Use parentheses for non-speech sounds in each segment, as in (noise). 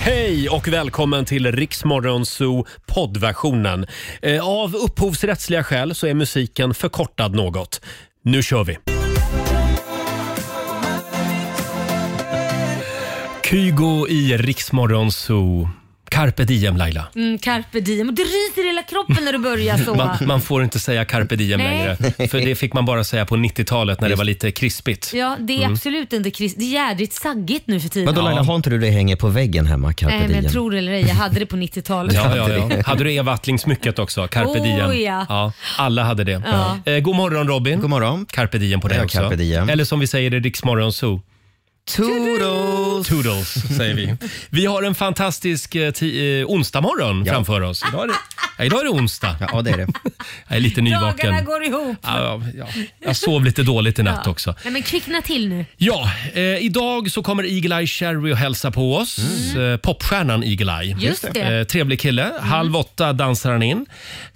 Hej och välkommen till Riksmorgon Zoo poddversionen. Eh, Av upphovsrättsliga skäl så är musiken förkortad något. Nu kör vi! Kygo i Riksmorgon Zoo. Carpe diem Laila. Mm, carpe diem. Och det ryser i hela kroppen när du börjar sova. Man, man får inte säga carpe diem Nej. längre. För det fick man bara säga på 90-talet när det var lite krispigt. Ja, det är Mm. absolut inte kris. Det är jädrigt saggigt nu för tiden. Vadå Laila, har inte du det hänger på väggen hemma? Carpe Nej, men diem? tror det eller ej, jag hade det på 90-talet. Ja, ja, ja. Hade du Eva Attling-smycket också? Carpe Oh, diem. ja. alla hade det. Ja. Eh, god morgon Robin. God morgon. Carpe diem på dig Ja, också. carpe diem. Eller som vi säger i Rix Morgon Zoo. Toodles! Toodles säger vi. Vi har en fantastisk eh, ti- eh, onsdagmorgon framför oss. Idag är det, ja, idag är det onsdag. Ja, det är det. Jag är lite nyvaken. Ah. Dagarna går ihop. Ja, ja. Jag sov lite dåligt i natt Ja. också. Nej, men kvickna till nu. Ja, eh, idag så kommer Eagle-Eye Cherry och hälsa på oss. Eh, popstjärnan Eagle-Eye. Mm. Just det. Mm. Eh, trevlig kille. Halv åtta dansar han in.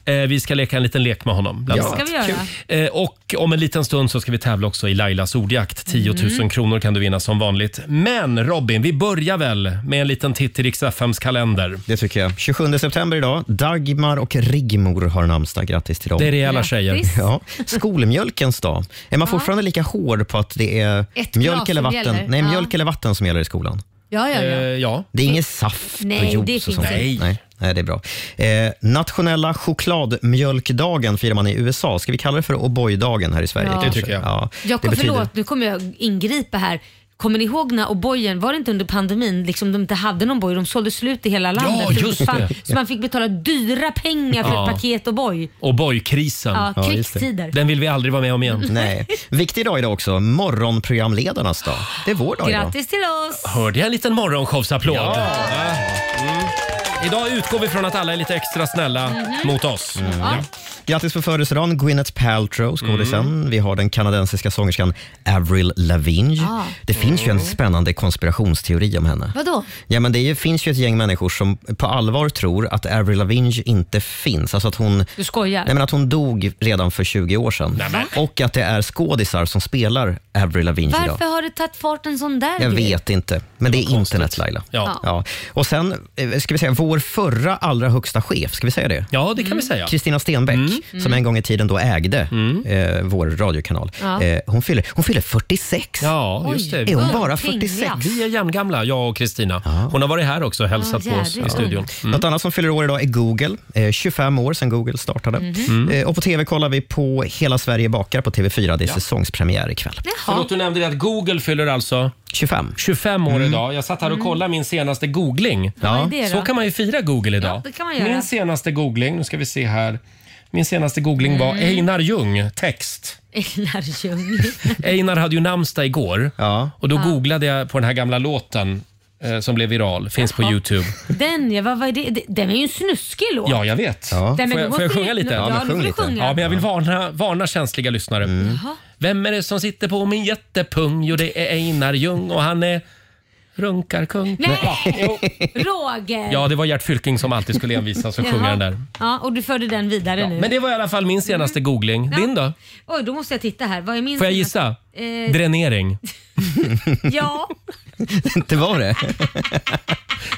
Eh, vi ska leka en liten lek med honom. bland Ja, annat. det ska vi göra. Kul. Eh, och om en liten stund så ska vi tävla också i Lailas ordjakt. 10 000 Mm. kronor kan du vinna som vanligt. Men Robin, vi börjar väl med en liten titt i Rix FMs kalender. Det tycker jag. 27 september idag. Dagmar och Rigmor har namnsdag. Grattis till dem. Det är rejäla Grattis. tjejer. Ja. Skolmjölkens dag. Är man fortfarande lika hård på att det är Ett glas mjölk, eller som vatten? gäller. Nej, Ja. mjölk eller vatten som gäller i skolan? Ja, ja, Eh, ja. Det är inget saft Nej, och juice det och finns sånt. inte. Nej. Nej. Nej, det är bra. Eh, nationella chokladmjölkdagen firar man i USA. Ska vi kalla det för O'boy-dagen här i Sverige? Ja. Det kanske? tycker jag. Ja. Jag det kom, betyder- Förlåt, nu kommer jag ingripa här. Kommer ni ihåg när O'boyen, var det inte under pandemin, liksom de inte hade någon O'boy, de sålde slut i hela landet. just Så fan- det. Så man fick betala dyra pengar för Ja. ett paket O'boy. Och boykrisen. Ja, Ja, just det. krigstider. Den vill vi aldrig vara med om igen. (laughs) Nej. Viktig dag idag också. Morgonprogramledarnas dag. Det är vår dag idag. Grattis till oss! Hörde jag en liten morgonshowsapplåd? Mm. Idag utgår vi från att alla är lite extra snälla Mhm. mot oss. Ja. Grattis på födelsedagen Gwyneth Paltrow, skådisen. Mm. Vi har den kanadensiska sångerskan Avril Lavigne. Ja. Det finns ju en Mm. spännande konspirationsteori om henne. Vadå? Ja, men det är ju, finns ju ett gäng människor som på allvar tror att Avril Lavigne inte finns. Alltså att hon, Du skojar? nej, men att hon dog redan för 20 år sedan. Och att det är skådisar som spelar Avril Lavigne idag. Varför har det tagit fart en sån där Jag grej? vet inte, men det är internet Laila. Ja. Och sen, eh, ska vi säga vår förra allra högsta chef, ska vi säga det? Ja, det Mm. kan vi säga. Kristina Stenbeck, som en gång i tiden då ägde eh, vår radiokanal. Ja. Eh, hon, fyller, hon fyller 46. Ja, just det. Är hon bara 46? Vi är jämngamla, jag och Kristina. Hon har varit här också och hälsat Ja, på oss i jävligt. studion. Mm. Något annat som fyller år idag är Google. Eh, 25 år sedan Google startade. Mhm. Eh, och På tv kollar vi på Hela Sverige bakar på TV4. Det är säsongspremiär ikväll. Förlåt, (laughs) du nämnde det att Google fyller alltså 25. 25 år idag. Jag satt här och Mm. kollade min senaste googling. Ja. Vad är det då? Så kan man ju fira Google idag. Ja, det kan man göra. Min senaste googling, nu ska vi se här. Min senaste googling var Mm. Einar Ljung, text. Lärjung. Einar hade ju namnsdag igår och då Ja. googlade jag på den här gamla låten eh, som blev viral, finns på Youtube. Den ja, vad var det? Den är ju en snuskig låt. Ja, jag vet. Ja. Nej, men Får, då jag, får jag måste sjunga vi- lite? Ja, Ja, men nu får sjung du lite. sjunga. Ja, men jag vill varna, varna känsliga lyssnare. Jaha. Vem är det som sitter på min jättepung? Jo, det är Einar Ljung och han är runkarkung. Ja, jo. Nej! Roger! Ja, det var Gert Fylking som alltid skulle envisas och sjunga Jaha. den där. Ja, och du förde den vidare nu. Men det var i alla fall min senaste googling. Ja. Din då? Oj, då måste jag titta här. Vad är min Får jag senaste- gissa? Eh, Dränering. Ja. det var det?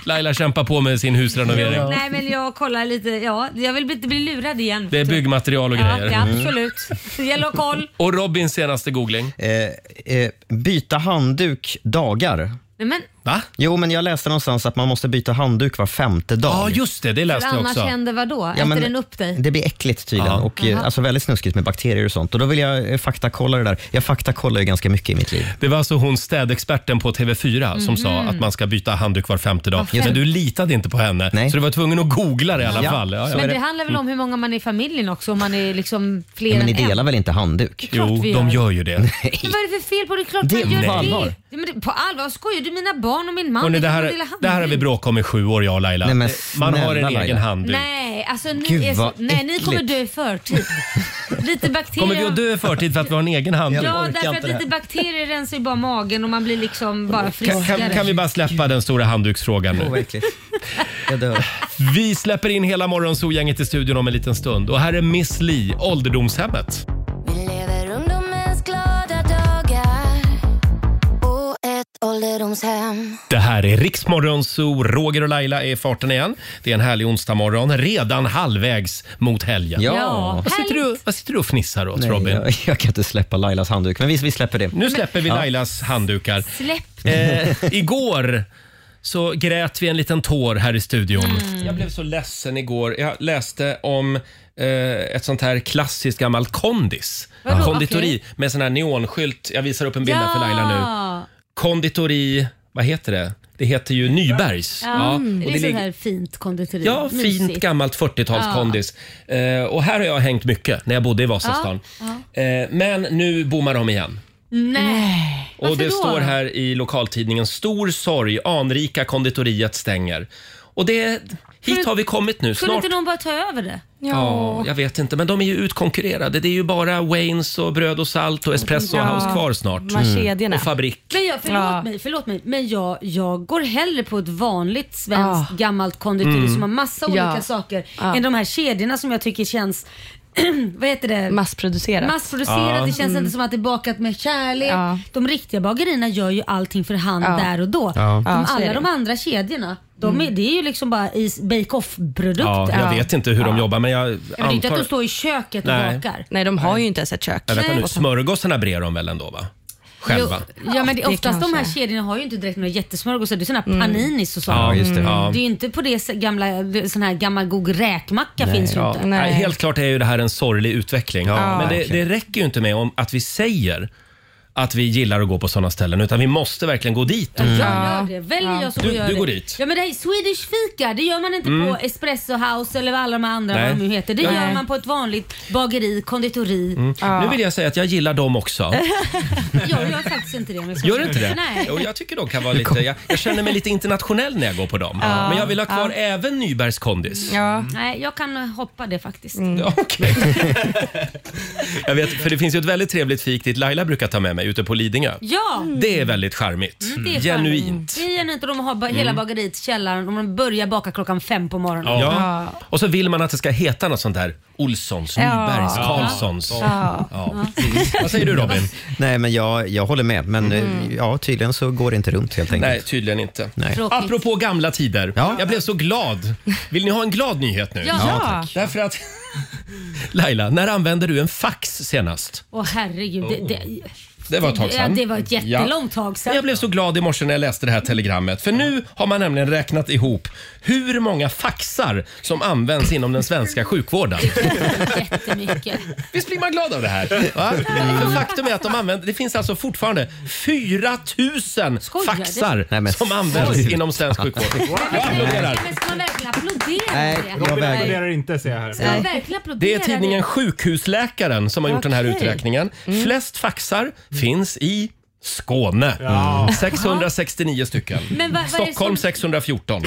Laila kämpar på med sin husrenovering. Nej, men jag kollar lite. Ja, jag vill inte bli lurad igen. Det är byggmaterial och Ja, grejer. ja absolut. Det gäller att ha koll. Och Robins senaste googling? Eh, eh, byta handduk dagar. Nej, men Va? Jo, men jag läste någonstans att man måste byta handduk var femte dag. Ja, just det. Det för annars händer vad då? Äter men- den upp dig? Det blir äckligt tydligen och eh, Jaha. alltså väldigt snuskigt med bakterier och sånt. Och då vill jag eh, faktakolla det där. Jag faktakollar ju ganska mycket i mitt liv. Det var alltså hon städexperten på TV4 som sa Mhm. att man ska byta handduk var femte dag. Var Men femte. du litade inte på henne, så du var tvungen att googla det i alla Ja, fall. Ja, ja. men det handlar väl Mm. om hur många man är i familjen också? Om man är liksom fler Nej, men ni än en. delar väl inte (laughs) handduk? klart Jo, vi gör. de gör ju det. Men vad är det för fel på det? Det är klart Det är man gör på det. allvar. Ja, men det. På allvar? Skojar du? Mina barn och min man. Hörrni, är det, klart här, man delar handduk. det här har vi bråkat om i sju år, jag och Laila. Nej, men man har en snälla, egen Laila. handduk. Nej, alltså ni, Gud, är så, vad nej, ni kommer äckligt. dö (laughs) i förtid. Lite bakterier. Kommer vi att dö i förtid för att vi har en egen handduk? Ja, därför att lite bakterier rensar ju bara magen och man blir liksom bara Kan, friskare. kan, kan vi bara släppa den stora handduksfrågan nu? Jag dör. Vi släpper in hela morgonzoo-gänget i studion om en liten stund. Och här är Miss Li, ålderdomshemmet. Vi lever ungdomens glada dagar och ett ålderdomshem Det här är Riksmorgon Zoo. Roger och Laila är i farten igen. Det är en härlig onsdagmorgon, redan halvvägs mot helgen. Ja. Vad, sitter du, vad sitter du och fnissar åt Nej, Robin? jag, jag kan inte släppa Lailas handduk, men vi, vi släpper det. Nu släpper vi Ja. (laughs) Lailas handdukar. Släpp Eh, igår så grät vi en liten tår här i studion. Mm. Jag blev så ledsen igår. Jag läste om eh, ett sånt här klassiskt gammalt kondis. Vadå? Konditori Okej. med sån här neonskylt. Jag visar upp en bild här för Laila nu. Konditori, vad heter det? Det heter ju Nybergs. Ja, Mm, det är ligger- så här fint konditori. Ja, fint Mysigt. gammalt 40-talskondis. Eh, och här har jag hängt mycket när jag bodde i Vasastan. Eh, men nu bommar de igen. Nej. Och Varför det då? står här i lokaltidningen, stor sorg, anrika konditoriet stänger. Och det, hit har vi kommit nu. Kunde Snart, inte någon bara ta över det? ja, jag vet inte, men de är ju utkonkurrerade. Det är ju bara Waynes och Bröd och Salt och Espresso House kvar snart. De här kedjorna. Mm. Och Fabrik. Men jag, förlåt, Ja. mig, förlåt mig, men jag, jag går hellre på ett vanligt svenskt gammalt konditori Mm. som har massa olika Ah. Ja. Ah. saker Ja. än de här kedjorna som jag tycker känns, (clears throat) vad heter det? Massproducerat. Mm. Massproducerat, det känns inte som att det är bakat med kärlek. Ja. De riktiga bagerierna gör ju allting för hand Ja. där och då. Ja. De, Ja, så är alla det. Mm. de andra kedjorna, de är, det är ju liksom bara is- bake-off-produkter. Ja, jag Ja. vet inte hur de jobbar, men jag Ja, men det är inte att antar... de står i köket och Nej. bakar. Nej, de har ju inte ens ett kök. Nej, vänta nu. Och så- Smörgåsarna brer de väl ändå, va? Själva? Jo, ja, men det, Det oftast de här kanske. Mm. kedjorna har ju inte direkt några jättesmörgåsar. Det är såna här paninis och sånt. Ja, just det. Ja. Det är ju inte på det sä- gamla, sån här gammal god räkmacka finns ju Ja, Mm. inte. Nej. nej, helt klart är ju det här en sorglig utveckling. Men det, det verkligen. räcker ju inte med om att vi säger att vi gillar att gå på sådana ställen, utan vi måste verkligen gå dit. Jag gör det. Väljer jag så Du- gör du det. går dit. Mm. Ja men det här är Swedish fika. Det gör man inte på Espresso House eller vad alla de här andra Nej. vad de nu heter. Det Nej. Mm. gör man på ett vanligt bageri, konditori. Nu vill jag säga att jag gillar dem också. Jag gör faktiskt inte det. om jag ska Gör vara du inte det? ärlig. (laughs) Nej. Jo, jag tycker de kan vara lite... Jag, jag känner mig lite internationell när jag går på dem. Men jag vill ha kvar även Nybergs kondis. Ja. Nej, jag kan hoppa det faktiskt. Ja, okej. (laughs) jag vet, för det finns ju ett väldigt trevligt fik dit Laila brukar ta med mig ute på Lidingö. Mm. Ja! Det är väldigt charmigt. Mm. Det är Mm. Genuint. Mm. charmigt. Det är genuint och de har ba- hela bageriet i källaren och de börjar baka klockan fem på morgonen. Ja. Och så vill man att det ska heta något sånt där Olssons, Nybergs, Karlssons. Ja. Vad säger du Robin? Nej, men jag, jag håller med. Men eh, Mm. ja, tydligen så går det inte runt helt enkelt. Nej, tydligen inte. Tråkigt. Apropå gamla tider. Ja. Jag blev så glad. Vill ni ha en glad nyhet nu? Ja. Ja, tack. Därför att... (laughs) Laila, när använde du en fax senast? Åh herregud. Det, det, Det var ett tag ja, sedan. det var ett jättelångt tag Men sedan. Jag blev så glad i morse när jag läste det här telegrammet. För nu har man nämligen räknat ihop hur många faxar som används inom den svenska sjukvården. Jättemycket. Visst blir man glad av det här? Va? För faktum är att de använder, det finns alltså fortfarande 4000 Skojar du? faxar Nej, men som används sluta. inom (laughs) svensk sjukvård. Jag applåderar. Men ska man verkligen applådera Nej, det? jag vägrar. applåderar inte ser jag här. Ska man verkligen applådera Det är tidningen Sjukhusläkaren som har gjort den här Okej. uträkningen. Mm. Flest faxar finns i Skåne. 669 stycken. Men vad- vad är det Stockholm som- 614.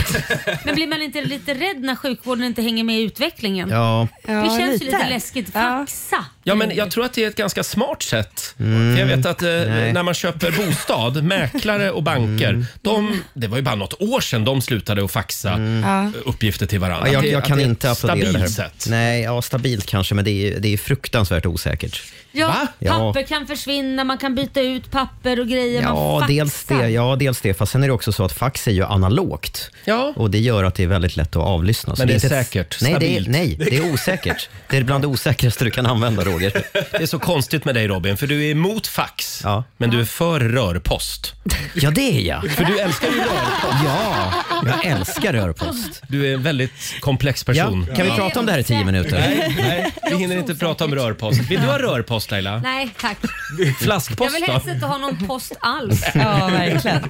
Men blir man inte lite rädd när sjukvården inte hänger med i utvecklingen? Ja, Ja, det känns ju lite lite läskigt. Ja. Faxa! Ja, men jag tror att det är ett ganska smart sätt. Mm. För jag vet att eh, när man köper bostad, mäklare och banker, Mm. de, det var ju bara något år sedan de slutade att faxa eh, uppgifter till Mm. varandra. Ja, jag, Att det- jag att kan det är ett inte applådera det här. stabilt sätt. Nej, ja, stabilt kanske, men det är, det är fruktansvärt osäkert. Ja, Va? papper Ja. kan försvinna, man kan byta ut papper och grejer. man Ja faxar. dels, det, ja, dels det. Fast sen är det också så att fax är ju analogt. Ja. Och det gör att det är väldigt lätt att avlyssna. Så Men det inte är ett- säkert, Nej det, är, stabilt. nej, det är osäkert. Det är bland det osäkraste du kan använda, Roger. Det är så konstigt med dig Robin, för du är emot fax, Ja. men du är för rörpost. Ja, det är jag. För du älskar ju rörpost. Ja, jag älskar rörpost. Du är en väldigt komplex Ja, person. kan vi prata om det här i tio minuter? Nej, nej, vi hinner inte prata om rörpost. Vill du ha rörpost Laila? Nej tack. Jag Flaskpost vill då? helst inte ha någon post alls. Ja, verkligen.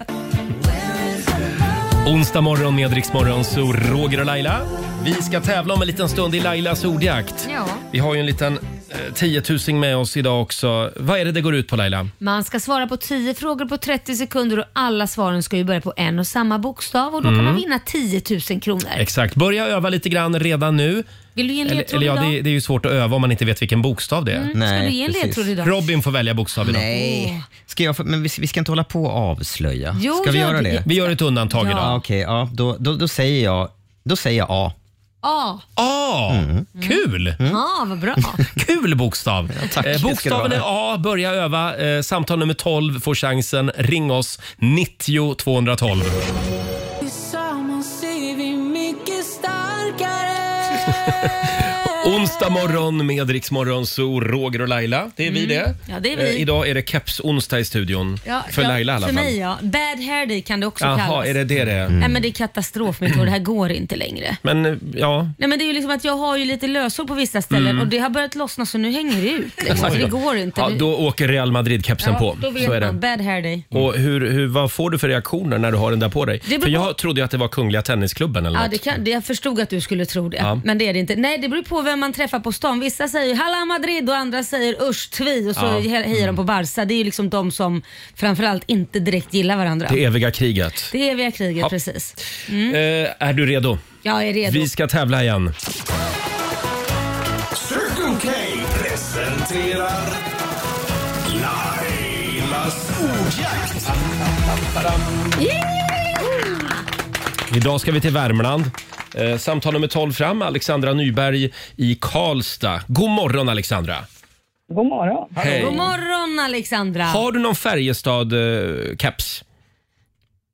Onsdag morgon med Rix Morgon, så Roger och Laila. Vi ska tävla om en liten stund i Lailas ordjakt. Ja. Vi har ju en liten eh, tiotusing med oss idag också. Vad är det det går ut på Laila? Man ska svara på 10 frågor på 30 sekunder och alla svaren ska ju börja på en och samma bokstav och då Mm. kan man vinna 10 000 kronor. Exakt. Börja öva lite grann redan nu. Vill du ge en Eller, ledtråd eller ja, idag? Mm. det, det är ju svårt att öva om man inte vet vilken bokstav det är. Ska du Nej, ge en precis. ledtråd idag? Robin får välja bokstav idag. Nej, ska jag, få- men vi, vi ska inte hålla på och avslöja. Jo, Ska vi gör göra det. det? Vi gör ett undantag Ja. idag. Ja, Okej, ja, då, då, då, säger jag, då säger jag A. A. A. Ah, Kul! Ja, Ah, vad bra. Kul bokstav. tack. Eh, Det ska bokstaven det är A. Börja öva. Eh, samtal nummer 12 får chansen. Ring oss. 90 (laughs) 212. Tillsammans är vi mycket starkare Onsdag morgon med Rix Morgon, så Roger och Laila. Det är vi det. Mm. Ja, det är vi. Eh, idag är det keps-onsdag i studion. Ja, (laughs) för ja, Laila i alla För fall. mig ja. Bad hair day kan det också Jaha, kallas. är det det det är? Nej Mm. men det är katastrof mitt hår, det här går inte längre. Men eh, ja, Nej men det är ju liksom att jag har ju lite löshår på vissa ställen och det har börjat lossna så nu hänger det ut liksom. Så det går inte. Mm. ja Nu- då åker Real Madrid-kepsen Ja, på. Då vet Så är det. man. Bad hair day. Mm. Och hur, hur, vad får du för reaktioner när du har den där på dig? Det beror För jag trodde ju att det var Kungliga Tennisklubben eller Ja, något. det kan, det, jag förstod att du skulle tro det, Ja. men det är det inte. Nej, det beror på vem man träffar på stan. Vissa säger Halla Madrid och andra säger usch tvi och så Ja. Mm. he- hejar de på Barca. Det är ju liksom de som framförallt inte direkt gillar varandra. Det eviga kriget. Det eviga kriget, Ja. precis. Mm. Eh, är du redo? Jag är redo. Vi ska tävla igen. Circle K presenterar Lailas ordjakt. Idag ska vi till Värmland. Eh, samtal nummer 12 fram. Alexandra Nyberg i Karlstad. God morgon Alexandra! God morgon. Hej! God morgon Alexandra! Har du någon eh, Färjestad-keps?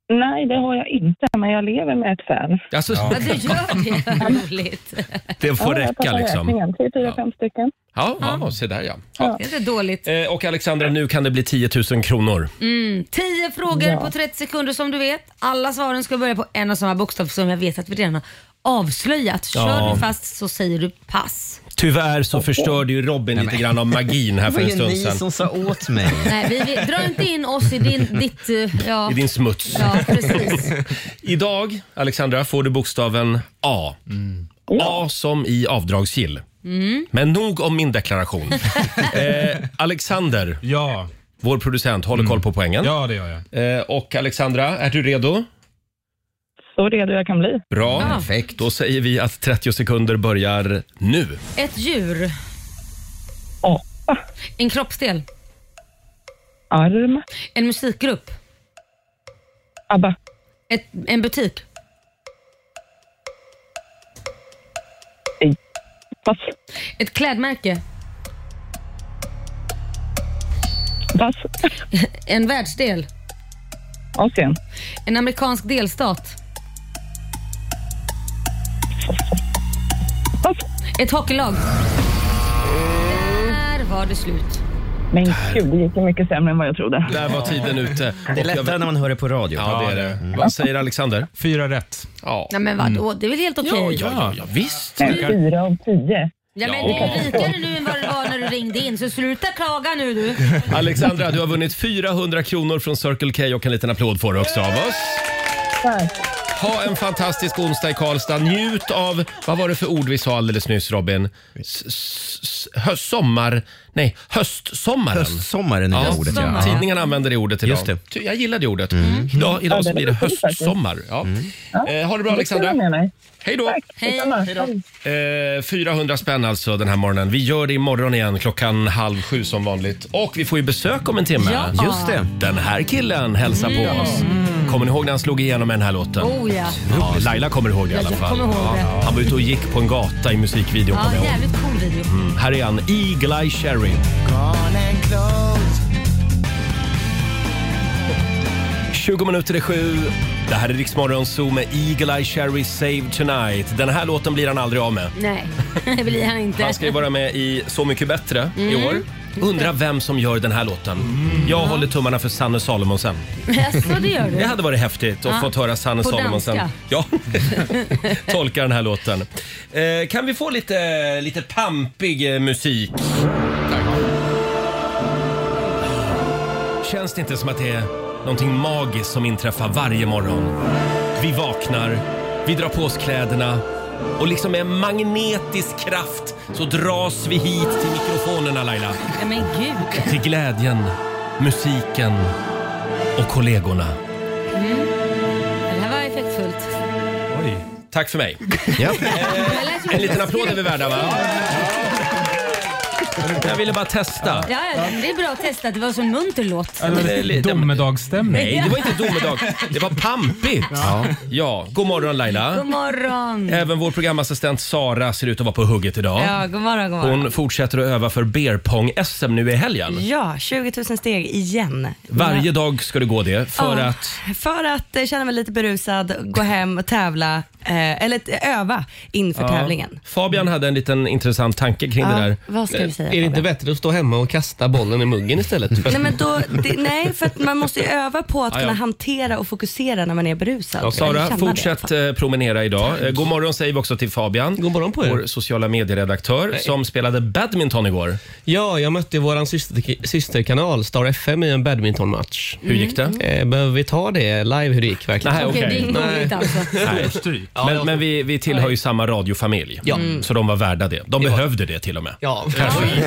Nej, det har jag inte, men jag lever med ett fan. Alltså, Ja, du gör det, vad roligt. (laughs) Det får jag räcka tappar liksom. räkningen. Det är fyra, fem stycken. Ja, ja, se där ja. ja. Det är inte dåligt. Eh, och Alexandra, nu kan det bli 10 000 kronor. Mm. 10 frågor på 30 sekunder som du vet. Alla svaren ska börja på en och samma bokstav som jag vet att vi redan har avslöjat. Kör Ja. du fast så säger du pass. Tyvärr så förstörde ju Robin lite grann av magin (laughs) här Det för var en ju stund ni sedan. som sa åt mig. Nej, vi, vi, dra inte in oss i din, ditt... eh, Ja, I din smuts. ja precis. (laughs) Idag, Alexandra, får du bokstaven A. Mm. A som i avdragsgill. Mm. Men nog om (laughs) min deklaration. eh, Alexander, Ja, vår producent, håller Mm. koll på poängen. ja det gör jag. Eh, och Alexandra, är du redo? Så redo jag kan bli. Bra. Perfekt. Då säger vi att 30 sekunder börjar nu. Ett djur, Apa, en kroppsdel, arm, en musikgrupp, ABBA, ett, en butik, pass, ett klädmärke, pass, en världsdel, Asien, en amerikansk delstat, pass. ett hockeylag. Eh. Där var det slut. Men gud, det gick ju mycket sämre än vad jag trodde. Där var tiden ute. Det är Och jag- lättare när man hör det på radio. Ja, det är det. Vad säger Alexander? Fyra rätt. Ja. Mm. Nej men vadå, det är väl helt okej? Ja, ja, ja, ja, visst. Men Fyra av tio. Ja, men det är ju rikare nu än vad det var när du ringde in, så sluta klaga (laughs) nu du. Alexandra, du har vunnit 400 kronor från Circle K och en liten applåd får du också av oss. Tack. Ha en fantastisk onsdag i Karlstad. Njut av, vad var det för ord vi sa alldeles nyss Robin? S- s- s- hö- Sommar... Nej, höstsommaren. Höstsommar är nya ordet. Sommar. Mm. Ja. Tidningarna använder det ordet idag. Just det. Ty- Jag gillade ordet. Mm. Idag, idag så det blir det låter kul faktiskt. höstsommar. Ja. Eh, ha det bra Det Alexandra. med mig. Hej då. Tack. Hej. detsamma. Hej då. Eh, 400 spänn alltså den här morgonen. Vi gör det imorgon igen klockan halv sju som vanligt. Och vi får ju besök om en timme. Ja. Mm. Just det. Den här killen hälsar på oss. Kommer ni ihåg när han slog igenom med den här låten? Oh ja. Ja, Laila kommer ihåg det i alla jag fall. kommer ihåg det. Han var ute och gick på en gata i musikvideon. Ja, kommer jag ihåg. Mm. jävligt cool video. Här är han, Eagle Eye Cherry. Gone and closed. 20 minuter i sju. Det här är Riksmorgon Zoo med Eagle Eye Cherry Save Tonight. Den här låten blir han aldrig av med. (laughs) Nej, det blir han inte. Han ska ju vara med i Så mycket bättre i år. Undrar vem som gör den här låten. Jag håller tummarna för Sanne Salomonsen. Jaså, det gör Det du? hade varit häftigt att Ja. fått höra Sanne På Salomonsen. danska. (laughs) Ja. Tolka den här låten. Eh, kan vi få lite, lite pampig eh, musik? Känns det inte som att det är någonting magiskt som inträffar varje morgon? Vi vaknar, vi drar på oss kläderna och liksom med en magnetisk kraft så dras vi hit till mikrofonerna Laila. Ja, men gud. Till glädjen, musiken och kollegorna. Det här var effektfullt. Tack för mig. Ja. Det lät ju- En liten applåd är vi värda va? Jag ville bara testa. Ja, ja, det är bra att testa. Det var så en munter låt. Ja, men det är lite- Domedagsstämning. Nej, det var inte domedag. Det var pampigt. Ja. god morgon God Laila. morgon. Även vår programassistent Sara ser ut att vara på hugget idag. Ja, god morgon, god morgon. Hon fortsätter att öva för beerpong-SM nu i helgen. Ja, 20 000 steg igen. Varje dag ska du gå det för Ja, att... För att eh, känna mig lite berusad, gå hem och tävla, eh, eller t- öva inför Ja. tävlingen. Fabian hade en liten intressant tanke kring det Ja, där. vad ska vi säga, Är det inte Fabian? bättre att stå hemma och kasta bollen i muggen istället? Nej, men då, det, nej, för att man måste ju öva på att Ja, ja. kunna hantera och fokusera när man är berusad. Ja, Jag Sara, känner det. fortsätt eh, promenera idag. Eh, God morgon säger vi också till Fabian, God morgon på er. vår sociala medieredaktör som spelade badminton igår. Ja, jag mötte vår syster, systerkanal Star FM i en badmintonmatch. Hur gick det? Eh, behöver vi ta det live hur det gick verkligen? Nej, Okej, det okej. gick dåligt alltså. (laughs) Nej. Men, men vi, vi tillhör ju samma radiofamilj, Mm. så de var värda det. De behövde det till och med. Ja.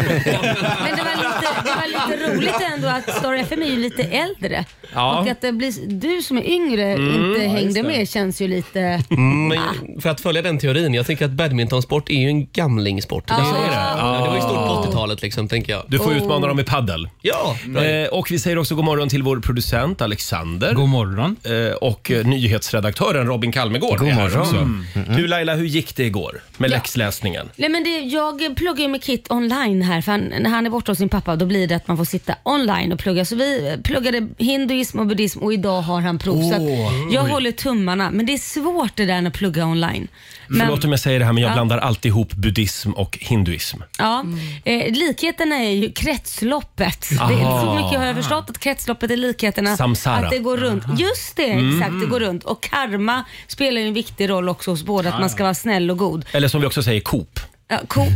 Men det var, lite, det var lite roligt ändå att Star FM är ju lite äldre. Ja. Mm. Och att det blir, du som är yngre inte hängde med känns ju lite... Men för att följa den teorin, jag tänker att badmintonsport är ju en gamlingsport. Det, Alltså, Så är är- det. Ja, det var ju stort på 80-talet liksom, tänker jag. Du får utmana dem i paddel. Ja, bra. Eh, och vi säger också god morgon till vår producent Alexander. God morgon. Eh, och eh, nyhetsredaktören Robin Kalmegård. God morgon. Mm. Du Laila, hur gick det igår med läxläsningen? Nej, men det, jag pluggar ju med Kit online här för han, när han är borta hos sin pappa då blir det att man får sitta online och plugga. Så vi eh, pluggade hinduism och buddhism och idag har han prov. så att jag håller tummarna men det är svårt det där med att plugga online. Men, Förlåt om jag säger det här men jag Ja. blandar alltid ihop buddhism och hinduism. ja, eh, likheterna är ju kretsloppet. Det är, så Aha. mycket har jag förstått att kretsloppet är likheterna. Samsara. Mm. Att det går runt. Just det, exakt det går runt. Och karma spelar ju en viktig roll också hos båda, Ah. att man ska vara snäll och god. Eller som vi också säger, Coop. Ja, Coop.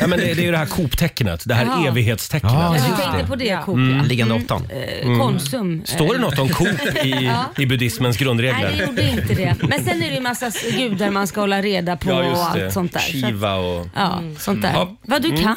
Ja, men det, det är ju det här Coop-tecknet, det här Ja. evighetstecknet. jag tänkte på det, Coop. Mm. Ja. Liggande åttan. Eh, Konsum. Står det något om Coop i, i buddhismens grundregler? Nej, det gjorde inte det. Men sen är det ju massa s- gudar man ska hålla reda på och allt sånt där. Så, att- Shiva och... ja, sånt där. Ja. Vad du kan.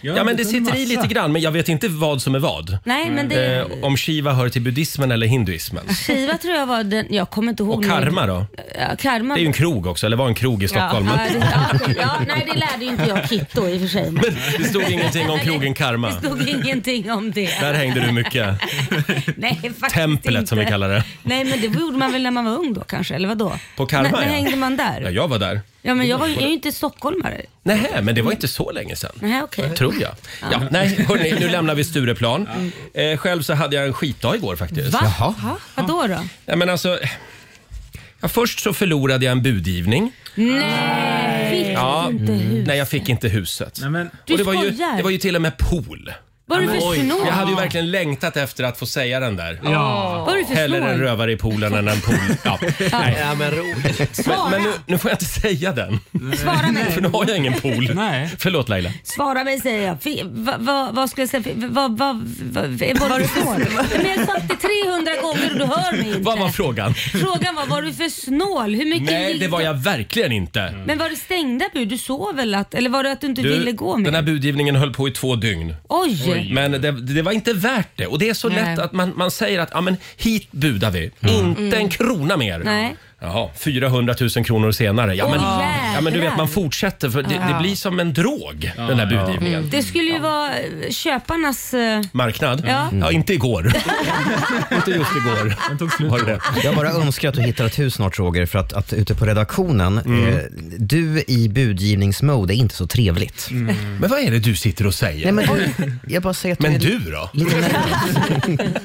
Ja, men det lite sitter i massa. lite grann, men jag vet inte vad som är vad. Nej, men det... Eh, om Shiva hör till buddhismen eller hinduismen. Shiva tror jag var den... Jag kommer inte ihåg. Och nu. karma då? Ja, karma. Det är ju en krog också, eller var en krog i Stockholm. Mm. (laughs) Men Ja, det, ja, okej. ja, nej, det lärde ju inte jag Kit då i och för sig. Men det stod ingenting om krogen Karma. Det stod ingenting om det. Där hängde du mycket. (laughs) Nej, faktiskt inte. Templet som vi kallar det. Nej, men det gjorde man väl när man var ung då kanske, eller vadå? På Karma, När, när ja. hängde man Ja, där? jag var där. Ja, men jag, var, jag är ju inte stockholmare. Nej, men det var inte så länge sedan. Nej, okej. (laughs) Tror jag. Ja, nej, hörni, nu lämnar vi Stureplan. Eh, själv så hade jag en skitdag igår faktiskt. Va? Jaha. Vadå då? Ja, men alltså, ja, först så förlorade jag en budgivning. Nej! Fick Ja. Mm. du inte hus? Nej, jag fick inte huset. Nej, men, Du det, var ju, skojar. det var ju till och med pool. Vad är du för snål? Jag hade ju verkligen längtat efter att få säga den där. ja. Vad är du för Hellre en snål? rövare i poolen än en pool. Ja. Nej. Ja, men roligt. Svara, Men nu, nu får jag inte säga den, svara mig. för nu har jag ingen pool. Nej. Förlåt Laila. Svara mig säger jag. Fi- va- va- Vad skulle jag säga? Fi- va- va- va- va- Vad var du för snål? Nej, Men jag sa det 300 gånger och du hör mig inte. Vad var frågan? Frågan var, var du för snål? Hur mycket Nej, gick det var jag verkligen inte. Men var det stängda bud? Du sov väl? Att, eller var det att du inte ville gå med? den här budgivningen höll på i två dygn. Oj! Men det, det var inte värt det. Och det är så Nej. lätt att man, man säger att ja, men hit budar vi, Mm. inte en krona mer. Mm. Nej. Jaha, 400 000 kronor senare. Ja, men, Åh, ja, men du vet, jädrar. man fortsätter för det, det blir som en drog, den där budgivningen. Det skulle ju vara eh, köparnas... eh, Marknad? Mm. Ja. inte igår. (laughs) inte just igår. Den tog slut. Mm. Var det det? Jag bara önskar att du hittar ett hus snart Roger, för att, att ute på redaktionen, eh, du i budgivningsmode är inte så trevligt. Men vad är det du sitter och Nej, säger? men du, jag bara säger att Men är du (laughs) då? lite nervös.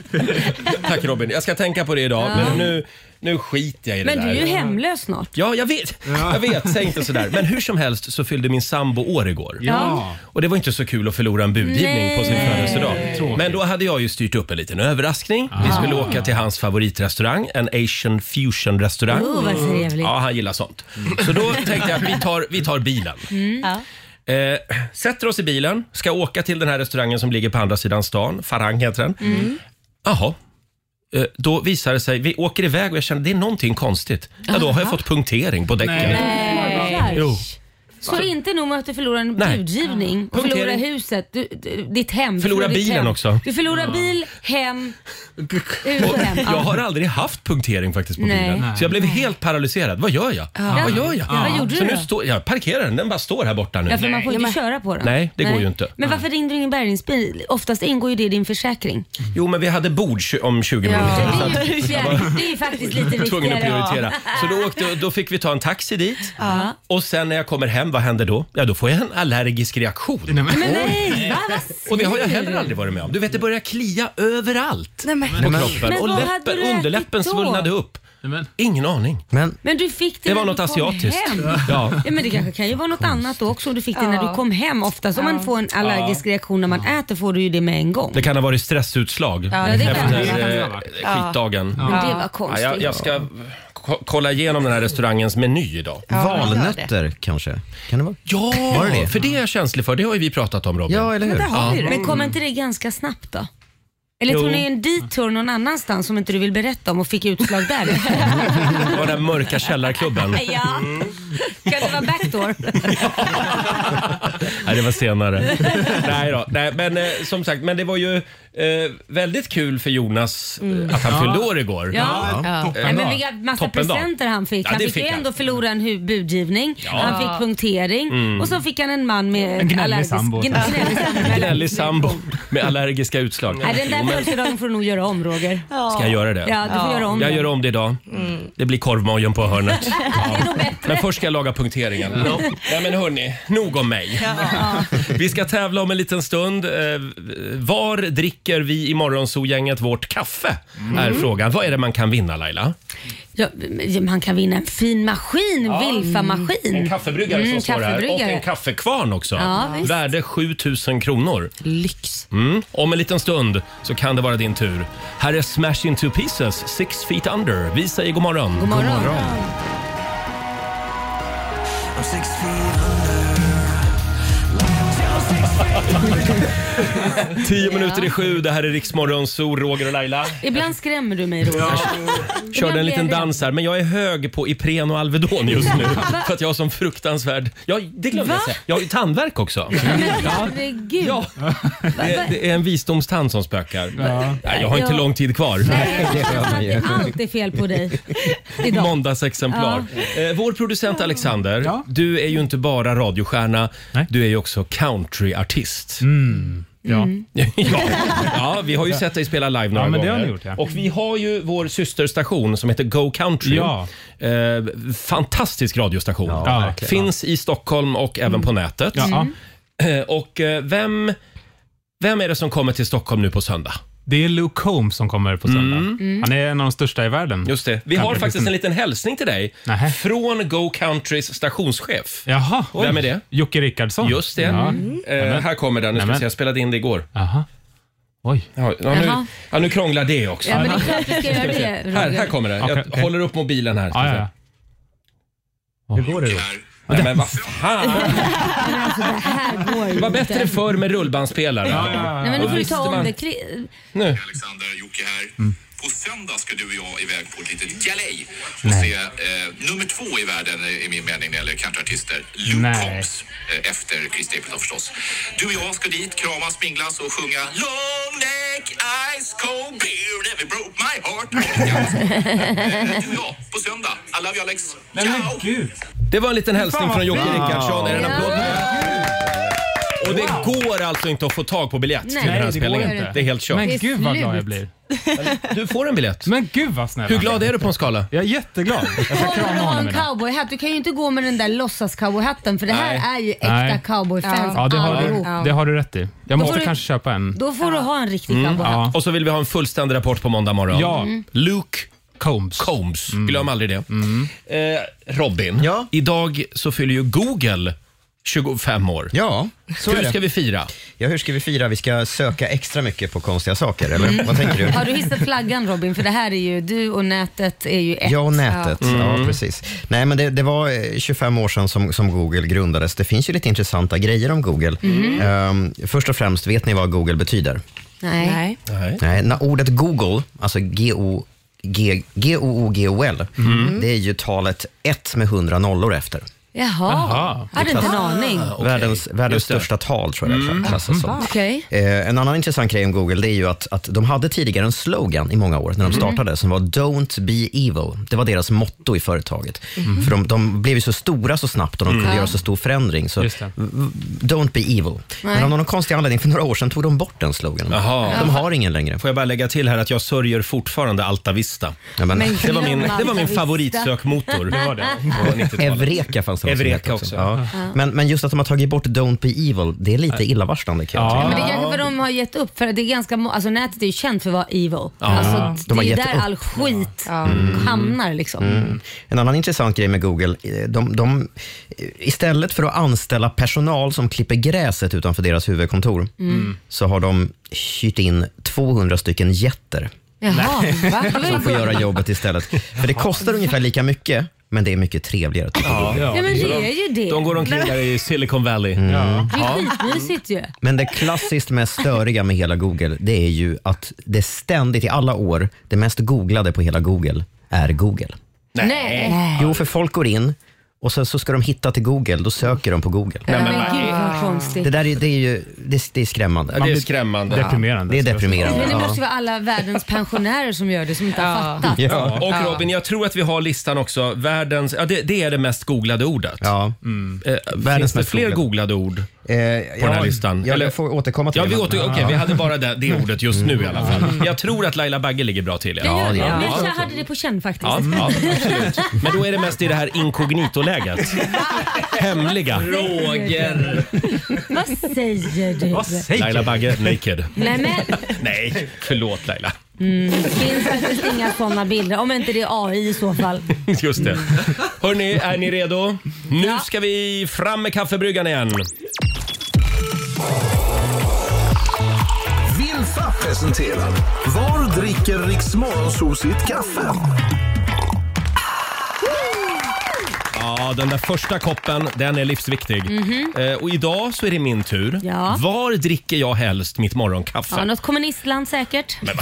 Tack Robin, jag ska tänka på det idag. Men nu, nu skiter jag i det Men där. du är ju hemlös snart. Ja, jag vet. Jag vet, säg inte sådär. Men hur som helst så fyllde min sambo år igår. Ja. Och det var inte så kul att förlora en budgivning på sin Nej. födelsedag. Men då hade jag ju styrt upp en liten överraskning. Vi Ah. skulle åka till hans favoritrestaurang, en asian fusion restaurang. Oh, vad trevligt. Mm. Ja, han gillar sånt. Så då tänkte jag att vi tar, vi tar bilen. Eh, sätter oss i bilen, ska åka till den här restaurangen som ligger på andra sidan stan. Farang heter den. Mm. Mm. Jaha. Eh, Då visar det sig, vi åker iväg och jag känner det är någonting konstigt. Ja, då har jag fått punktering på däcken. Nej. Nej. Jo. Så inte nog med att du förlorar en Nej. budgivning och Punktering. förlorar huset, du, du, ditt hem. Du Förlorar ditt bilen hem. också. Du förlorar bil, (laughs) hem, ut och hem. Jag har aldrig haft punktering faktiskt på Nej. bilen. Så jag blev helt paralyserad. Vad gör jag? Vad gör jag? Ja, vad gjorde så du nu då? står, jag parkerar den, den bara står här borta nu. Ja, för man får Nej, inte men- köra på den. Nej, det går ju inte. Men varför ringde du ingen bärgningsbil? Oftast ingår ju det i din försäkring. Jo, men vi hade bord tju- om 20 minuter. Så det, är ju fjär, det är ju faktiskt lite Jag var (laughs) tvungen viktigare. att prioritera. Så då, åkte, då fick vi ta en taxi dit. Och sen när jag kommer hem, vad händer då? Ja, då får jag en allergisk reaktion. Ja. Men nej, va? Vad Och det har jag säger heller du? aldrig varit med om. Du vet, det börjar klia överallt Nej, men, på Men- kroppen. Men Och vad hade läppen, du ätit underläppen då? svullnade upp. Nämen. Ingen aning. Men Men du fick Det det, när var du något kom asiatiskt. hem. Ja. Ja, men det kanske kan ju vara något annat då också och du fick det när Ja. du kom hem. Oftast om man får en allergisk reaktion när man äter får du ju det med en gång. Det kan ha varit stressutslag det kan efter det vara. eh, skitdagen. Mm. Ja. Men det var konstigt. jag, jag ska ko- kolla igenom den här restaurangens meny idag. valnötter kanske? Kan det vara? Ja, Var det det? för det är jag känslig för. Det har ju vi pratat om Robin. Ja, eller hur? där har vi det. Men kommer inte det ganska snabbt då? Eller tror Mm. Jo. ni en detour någon annanstans som inte du vill berätta om och fick utslag där? Det var den mörka källarklubben. (laughs) ja. Mm. Kan det (laughs) vara backdoor? Nej, det var senare. Nej då. Nej, men eh, som sagt, men det var ju eh, väldigt kul för Jonas eh, att han fyllde år igår. Ja. Nej, men Toppendag. vilka massa Toppendag. presenter han fick. Ja, Han det fick ju fick han. ändå förlora en hu- budgivning, han fick punktering Mm. och så fick han en man med En gnällig allergisk- gn- sambo. gnällig sambo. (laughs) Gnällig sambo med allergiska utslag. Nej, den Jo, där men födelsedagen får du nog göra om Roger. ska jag göra det? Ja, du får göra om Jag den. gör om det idag. Det blir korvmojen på hörnet. (laughs) Det är nog bättre. Men först ska jag laga punkteringen. Nej men hörni, nog om mig. Vi ska tävla om en liten stund. Eh, Var dricker vi i Morgonzoo-gänget vårt kaffe? Mm. Är frågan. Vad är det man kan vinna Laila? Ja, men han kan vinna en fin maskin, Wilfa-maskin. En kaffebryggare som Mm, står här och kaffebryggare. en kaffekvarn också. Ja, visst. Värde 7000 kronor. Lyx. Mm. Om en liten stund så kan det vara din tur. Här är Smash Into Pieces, Six Feet Under. Vi säger god morgon. God morgon. Tio minuter i sju, det här är Riksmorgonzoo, Roger och Laila. Ibland skrämmer du mig Roger. Körde en liten blir jag dans här, men jag är hög på Ipren och Alvedon just (laughs) nu. för att jag har som fruktansvärd... Ja, det glömde jag Va? säga. Jag har ju tandvärk också. (laughs) Herregud. Ja, det, det är en visdomstand som spökar. Nej, jag har inte Ja. lång tid kvar. Nej, jag känner att det- Allt är fel på dig idag. Måndagsexemplar. Eh, vår producent Alexander, Ja. du är ju inte bara radiostjärna, Nej. du är ju också Mm. countryartist. Mm. Ja. ja. ja, vi har ju sett dig spela live några Ja, men det gånger. har ni gjort, ja. Och vi har ju vår systerstation som heter Go Country. Ja. Eh, fantastisk radiostation. Ja, verkligen. Finns i Stockholm och även på nätet. Ja, Mm. ja. Eh, och eh, vem, vem är det som kommer till Stockholm nu på söndag? Det är Luke Combs som kommer på söndag. Mm. Han är en av de största i världen. Mm. Just det. Vi har Country faktiskt business. en liten hälsning till dig Nähä. från Go Countrys stationschef. Jaha, oj. Vem är det? Jocke Rickardsson. Just det. Ja. Eh, här kommer den. Nu ska vi Nämen. se, jag spelade in det igår. Jaha. Oj. Ja, ja, nu, Jaha. ja, nu krånglar det också. Ja, men det är klart du ska göra Ska vi se. det Här, Roger. här kommer det. Jag Okej, okej. håller upp mobilen här. ska Ja, vi ja, se. ja. Går det då? Nej, men vad fan! Det här går ju Det var inte. bättre förr med rullbandspelare. Nej, men nu får du Visste ta om man. det. Kli- Nu. Alexander, Jocke här. På söndag ska du och jag iväg på ett litet galej och se eh, nummer två i världen eh, i min mening när det gäller countryartister, Luke Nej. Combs, eh, efter Chris Stapleton förstås. Du och jag ska dit, kramas, minglas och sjunga Long neck ice cold beer never broke my heart. Eh, du och jag på söndag. I love you Alex. Ciao! Det var en liten hälsning från Jocke Rickardsson. Är det en applåd? Och det går alltså inte att få tag på biljett till Nej, den här det går spelningen. inte. Det är helt kört. Men Det är gud vad glad jag slut. blir. Du får en biljett. Men gud vad snäll Hur han glad är du på en skala? Jag är jätteglad. Jag ska Kommer du krama ha honom en idag. cowboyhatt? Du kan ju inte gå med den där låtsas-cowboyhatten för det här Nej. är ju äkta Nej. cowboyfans Ja, det har, allihop. du, det har du rätt i. Jag får måste du- kanske köpa en. Då får du ha en riktig cowboyhatt. Ja. Och så vill vi ha en fullständig rapport på måndag morgon. Ja, Luke Combs. Combs. Glöm aldrig det. Eh, Robin, Ja. idag så fyller ju Google 25 år. Ja, så är Hur det. ska vi fira? Ja, hur ska vi fira? Vi ska söka extra mycket på konstiga saker, eller vad tänker Mm. du? Har du hissat flaggan Robin? För det här är ju, du och nätet är ju ett. Ja, och nätet. Ja, Mm. precis. Nej, men det, det var eh, 25 år sedan som, som Google grundades. Det finns ju lite intressanta grejer om Google. Ehm, först och främst, vet ni vad Google betyder? Nej. Nej. Nej. Nej, när ordet Google, alltså G-O... G- G-O-O-G-O-L, det är ju talet 1 med 100 nollor efter. Jaha, Jaha. hade inte en aning. Världens, världens största tal tror jag det Mm. klassas som. Aha. Okej. Eh, en annan intressant grej om Google det är ju att, att de hade tidigare en slogan i många år när de Mhm. startade som var “Don't be evil”. Det var deras motto i företaget. Mhm. För de, de blev ju så stora så snabbt och de kunde Mm. göra så stor förändring. Så Just det. v- “Don't be evil”. Men Nej. av någon konstig anledning för några år sedan tog de bort den sloganen. Jaha. De har ingen längre. Får jag bara lägga till här att jag sörjer fortfarande Altavista. men- Men det var min, glöm det var min Altavista. favoritsökmotor. Det var det. på 90-talet. Evreka fanns det något som Evreka hette också. Ja. Ja. Men, men just att de har tagit bort “Don't be evil”, det är lite illavarslande kan jag Ja, tycka. men det är kanske för de har gett upp. För det är ganska, må- alltså, nätet är ju känt för att vara evil. Ja. Alltså, De har det är gett där upp. all skit Mm. hamnar. Liksom. Mm. En annan intressant grej med Google, eh, de, de, eh, istället för att anställa personal som klipper gräset utanför deras huvudkontor, Mm. så har de hyrt in 200 stycken jätter Jaha, va? (laughs) som får göra jobbet istället. För det kostar ungefär lika mycket, men det är mycket trevligare. tycker Ja, Google. Ja, men det är ju det. i Silicon Valley. Mm. Ja. Det är skitmysigt ju. Men det klassiskt mest störiga med hela Google, det är ju att det ständigt i alla år, det mest googlade på hela Google är Google. Nej. Nej. Jo, för folk går in och sen så ska de hitta till Google, då söker de på Google. Nej, men vad- gud, vad konstigt. Det där är, det är ju det är, det är skrämmande. Ja, Man det är blir- skrämmande. Det är deprimerande. Men det Ja. måste ju vara alla världens pensionärer som gör det, som inte har fattat. Ja. Och Robin, jag tror att vi har listan också. Världens, ja, det, det är det mest googlade ordet. Ja. Eh, finns Världens det mest fler googlade. googlade ord Eh, på den här listan? Jag, Eller- jag får återkomma till Ja, det. vi, men- Mm. åter, okej, vi hade bara det, det ordet just nu i alla fall. Jag tror att Laila Bagge ligger bra till. i alla Ja, fall. det gör det. Ja. Jag hade det på känn faktiskt. Ja, ja, absolut. Men då är det mest i det här (laughs) inkognitoläget. Hemliga. Roger. (laughs) Vad säger du? Laila Bagge, naked. Nej, men Nej, förlåt Laila. Mm, det finns faktiskt inga sådana bilder. Om inte det är AI i så fall. (laughs) Just det. Hörni, är ni redo? Nu ska vi fram med kaffebryggan igen. Vilfa presenterar Var dricker Riks Morgonzoo sitt kaffe? Ja, den där första koppen, den är livsviktig. Mhm. Eh, och idag så är det min tur. Ja. Var dricker jag helst mitt morgonkaffe? Ja, något kommunistland säkert. Men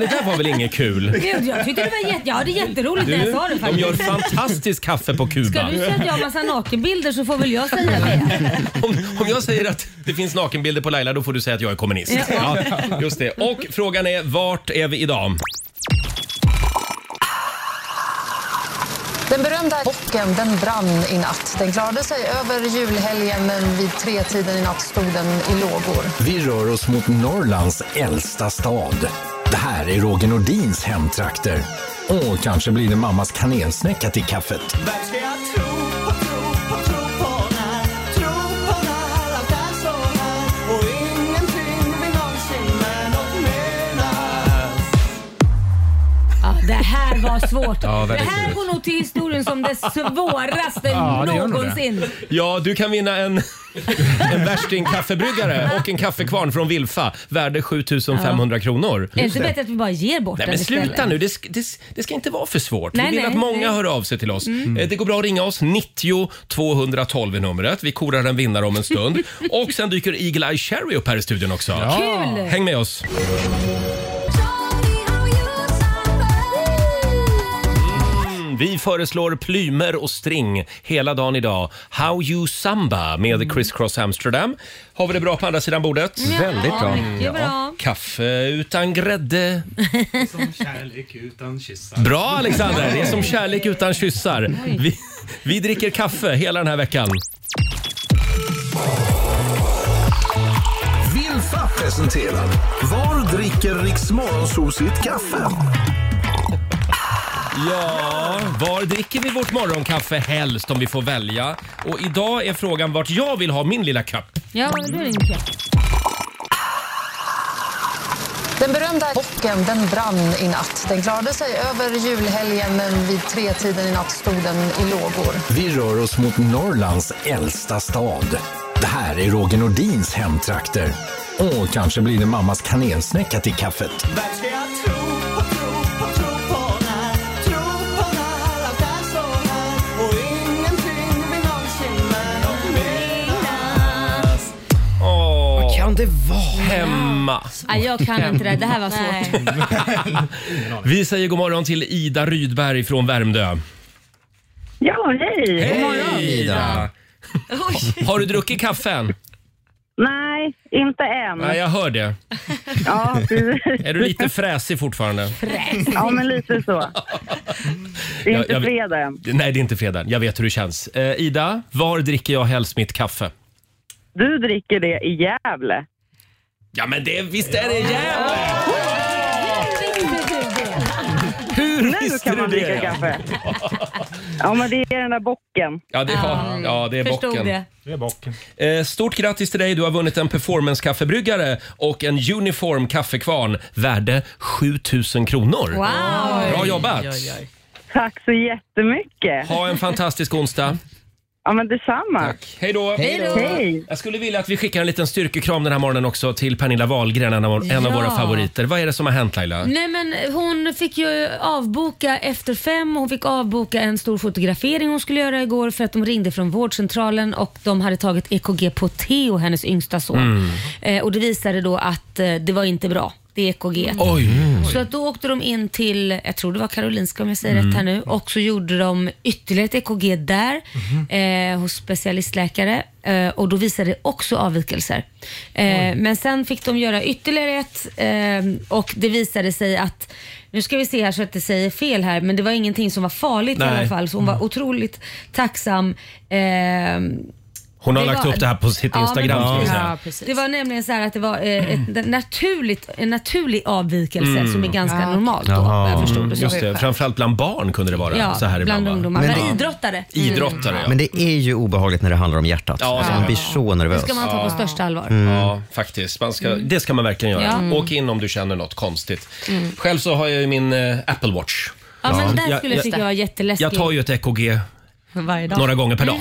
det där var väl inget (laughs) kul? Gud, jag tyckte det var jätte... Jag hade jätteroligt när jag sa det de faktiskt. gör fantastiskt kaffe på Kuba. Ska du säga att jag har massa nakenbilder så får väl jag säga det. Om, om jag säger att det finns nakenbilder på Laila, då får du säga att jag är kommunist. Ja. Ja. just det. Och frågan är, vart är vi idag? Den berömda bocken den brann i natt. Den klarade sig över julhelgen men vid tretiden i natt stod den i lågor. Vi rör oss mot Norrlands äldsta stad. Det här är Roger Nordins hemtrakter. Och kanske blir det mammas kanelsnäcka till kaffet. Ja, det här var svårt. Ja, det verkligen. här går nog till historien som det svåraste Ja, det gör nog det. någonsin. Ja, du kan vinna en, (laughs) en värsting-kaffebryggare och en kaffekvarn från Wilfa, värde 7500 kronor. Är det inte bättre att vi bara ger bort Nej den men sluta istället? nu, det, sk- det, s- det ska inte vara för svårt. Nej, vi vill nej, att många nej. hör av sig till oss. Mm. Eh, Det går bra att ringa oss, 90 212 är numret. Vi korar en vinnare om en stund. (laughs) och sen dyker Eagle Eye Cherry upp här i studion också. Kul! Häng med oss. Mm, Vi föreslår plymer och string hela dagen idag. How You Samba med Criss Cross Amsterdam. Har vi det bra på andra sidan bordet? Mm. Ja, Väldigt bra. mycket bra. Kaffe utan grädde. Som kärlek utan kyssar. Bra Alexander! Det är som kärlek utan kyssar. Oj. Vi, vi dricker kaffe hela den här veckan. Vilfa presenterar Var dricker Riks Morgonzoo sitt kaffe? Ja, var dricker vi vårt morgonkaffe helst om vi får välja? Och idag är frågan vart jag vill ha min lilla kopp. Ja, då är det inget fel. Den berömda bocken den brann i natt. Den klarade sig över julhelgen men vid tretiden i natt stod den i lågor. Vi rör oss mot Norrlands äldsta stad. Det här är Roger Nordins hemtrakter. Och kanske blir det mammas kanelsnäcka till kaffet. Åh. Vad kan det vara? Hemma. Nej, jag kan inte det. Det här var svårt. Vi säger god morgon till Ida Rydberg från Värmdö. Ja, hej! Hej Ida! Har du druckit kaffe än? Nej, inte än. Nej, jag hör det. Ja, precis. Är du lite fräsig fortfarande? Ja, men lite så. Det är inte jag- fredag än. Nej, det är inte fredag. Jag vet hur det känns. Eh, Ida, var dricker jag helst mitt kaffe? Du dricker det i Gävle. Ja, men det, visst är det Gävle? Hur visste kan du man det? dricka kaffe. Ja, men det är den där bocken. Ja, det, ja, ja, det är bocken. Det är bocken. Eh, Stort grattis till dig. Du har vunnit en performance-kaffebryggare och en uniform kaffekvarn värde 7000 kronor. Wow. Bra jobbat! Oj, oj, oj. Tack så jättemycket. Ha en fantastisk onsdag. Ja, men detsamma. Hej då! Hej. Jag skulle vilja att vi skickar en liten styrkekram den här morgonen också till Pernilla Wahlgren, en av, en av Ja. våra favoriter. Vad är det som har hänt Laila? Nej men hon fick ju avboka efter fem och hon fick avboka en stor fotografering hon skulle göra igår för att de ringde från vårdcentralen och de hade tagit EKG på Theo, hennes yngsta son. Mm. Eh, och det visade då att eh, det var inte bra. Det E EKG. Oj. Mm. Så att då åkte de in till, jag tror det var Karolinska om jag säger Mm. rätt här nu, och så gjorde de ytterligare ett EKG där Mhm. eh, hos specialistläkare eh, och då visade det också avvikelser. Eh, men sen fick de göra ytterligare ett eh, och det visade sig att nu ska vi se här så att det säger fel här, men det var ingenting som var farligt i Nej. Mm. alla fall. Så hon var otroligt tacksam. Eh, Hon har det lagt var- upp det här på sitt Ja, men Instagram. ska vi precis. säga. Det var nämligen så här att det var eh, ett naturligt, en naturlig avvikelse Mm. som är ganska Ja. normalt då. vad Jag förstod det. Mm, som. Just det. Framförallt bland barn kunde det vara Ja, så här bland ibland. va? ungdomar. Men, idrottare. Idrottare, ja. Men det är ju obehagligt när det handlar om hjärtat. Alltså, Ja, man blir så Det nervös. ska man ta på största allvar. Ja, faktiskt. Man ska, Det ska man verkligen göra. Ja. Mm. Åk in om du känner något konstigt. Mm. Själv så har jag ju min eh, Apple Watch. Ja, men det där skulle jag tycka var jätteläskigt. Jag tar (laughs) ju ett EKG varje några gånger per dag.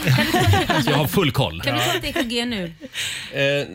Så (laughs) jag har full koll. Mm. Kan du ta ett EKG nu? Eh,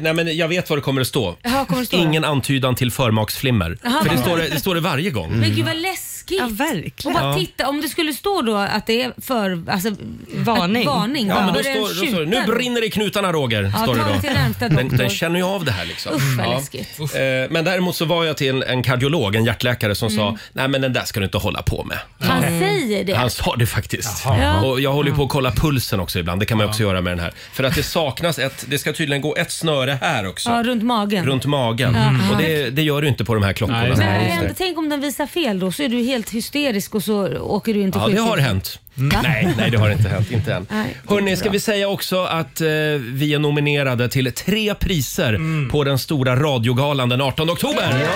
nej, men jag vet vad det kommer att stå. Jaha, kommer det stå? Ingen antydan till förmaksflimmer. Jaha, För det vad- står det, det, står det varje gång. Men gud vad läskigt. Ja, verkligen. Och bara Ja. titta, om det skulle stå då att det är för, alltså, Varning. Att, varning Ja, men då är det en står, då står det, nu tjuter. brinner det i knutarna Roger. Ja, står det ta det då. till närmsta den, doktor. den känner ju av det här liksom. Usch, vad Ja. läskigt. Eh, Men däremot så var jag till en kardiolog, en hjärtläkare som sa, Mm. nej men den där ska du inte hålla på med. Han säger det. Han sa det faktiskt. Jaha. Ja. Och jag håller ju på att kolla pulsen också ibland, det kan man ju också göra med den här. För att det saknas ett, det ska tydligen gå ett snöre här också. Ja, runt magen. Runt magen. Ja. Och det, det gör du inte på de här klockorna. Men vad Just händer? det. Tänk om den visar fel då, så är du helt hysterisk och så åker du in till Ja, det sjukhuset. har hänt. Va? Nej, nej, det har inte hänt. Inte än. Mm. Nej, det är Hörni, inte ska bra. vi säga också att eh, vi är nominerade till tre priser Mm. på den stora radiogalan den 18 oktober.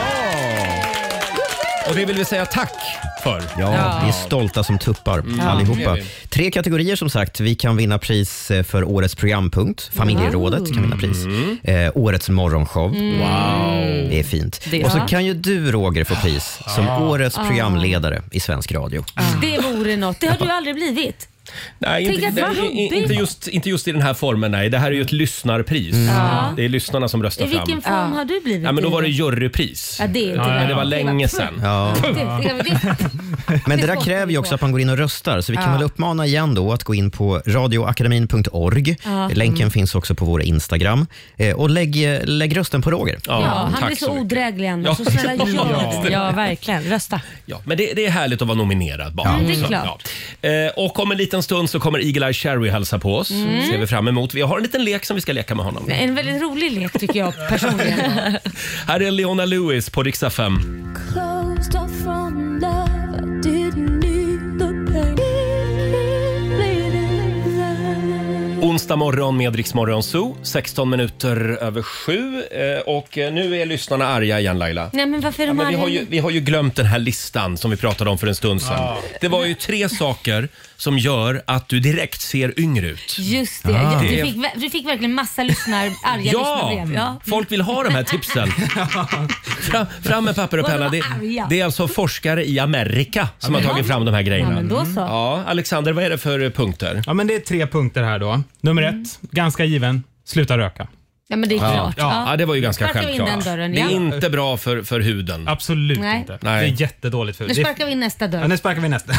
Och det vill vi säga tack för. Ja, vi är stolta som tuppar Mm. Ja, allihopa. det är vi. Tre kategorier som sagt. Vi kan vinna pris eh, för årets programpunkt. Familjerådet kan vinna pris. Eh, årets morgonshow. Mm. Wow. Det är fint. Det- Och så Ja. kan ju du Roger få pris som Ja. årets Ah. programledare i svensk radio. Det vore något. Det har du aldrig blivit. Nej, Tänk inte, att vad det- i- roligt. inte, just, inte just i den här formen. Nej. Det här är ju ett lyssnarpris. Mm. Ja. Det är lyssnarna som röstar I vilken fram. form har du blivit? Ja, men då var det i? jurypris. Ja, det är inte Men bra. det var länge sedan. Ja. Det- det- det- Men det där kräver ju också att man går in och röstar, så vi kan Ja. väl uppmana igen då att gå in på radioakademin.org. Ja. Länken Mm. finns också på vår Instagram. Eh, Och lägg, eh, lägg rösten på Roger. Ja, han blir så, odräglig ändå. Så Ja. snälla Ja. ja. ja, verkligen. Rösta. Ja, men det, det är härligt att vara nominerad bara. Ja. Mm, det är Så, klart. ja. Eh, och om en liten stund så kommer Eagle-Eye Cherry hälsa på oss. Mm. ser vi fram emot. Vi har en liten lek som vi ska leka med honom. En väldigt rolig lek tycker jag personligen. Här är Leona Lewis på riksdag 5. Closed off from love, I didn't need the pain. Bleeding love. Onsdag morgon med Rix Morgon Zoo, 16 minuter över sju. Eh, och eh, nu är lyssnarna arga igen Laila. Nej, men varför är Ja, de men vi, arga har ju, nu? vi har ju glömt den här listan som vi pratade om för en stund sedan. Det var ju tre saker som gör att du direkt ser yngre ut. Just det. Ah. Du, Det- fick, ver- du fick verkligen massa lyssnar, arga Ja! lyssnarbrev. Ja. Folk vill ha de här (laughs) tipsen. Fram, fram med papper och Vad penna. de Det, var arga. det är alltså forskare i Amerika som har Ja. tagit fram de här grejerna. Ja, men då så. Ja, Alexander, vad är det för eh, punkter? Ja, men det är tre punkter här då. Nummer Mm. ett, ganska given. Sluta röka. ja, men det är klart. Ja. Ja, det var ju ganska Sparkar vi in självklart. den dörren, det är ja. inte bra för, för huden. Absolut Nej. inte. Nej. Det är jättedåligt för Nu sparkar vi in nästa (laughs) Ja, dörr. nu sparkar vi nästa.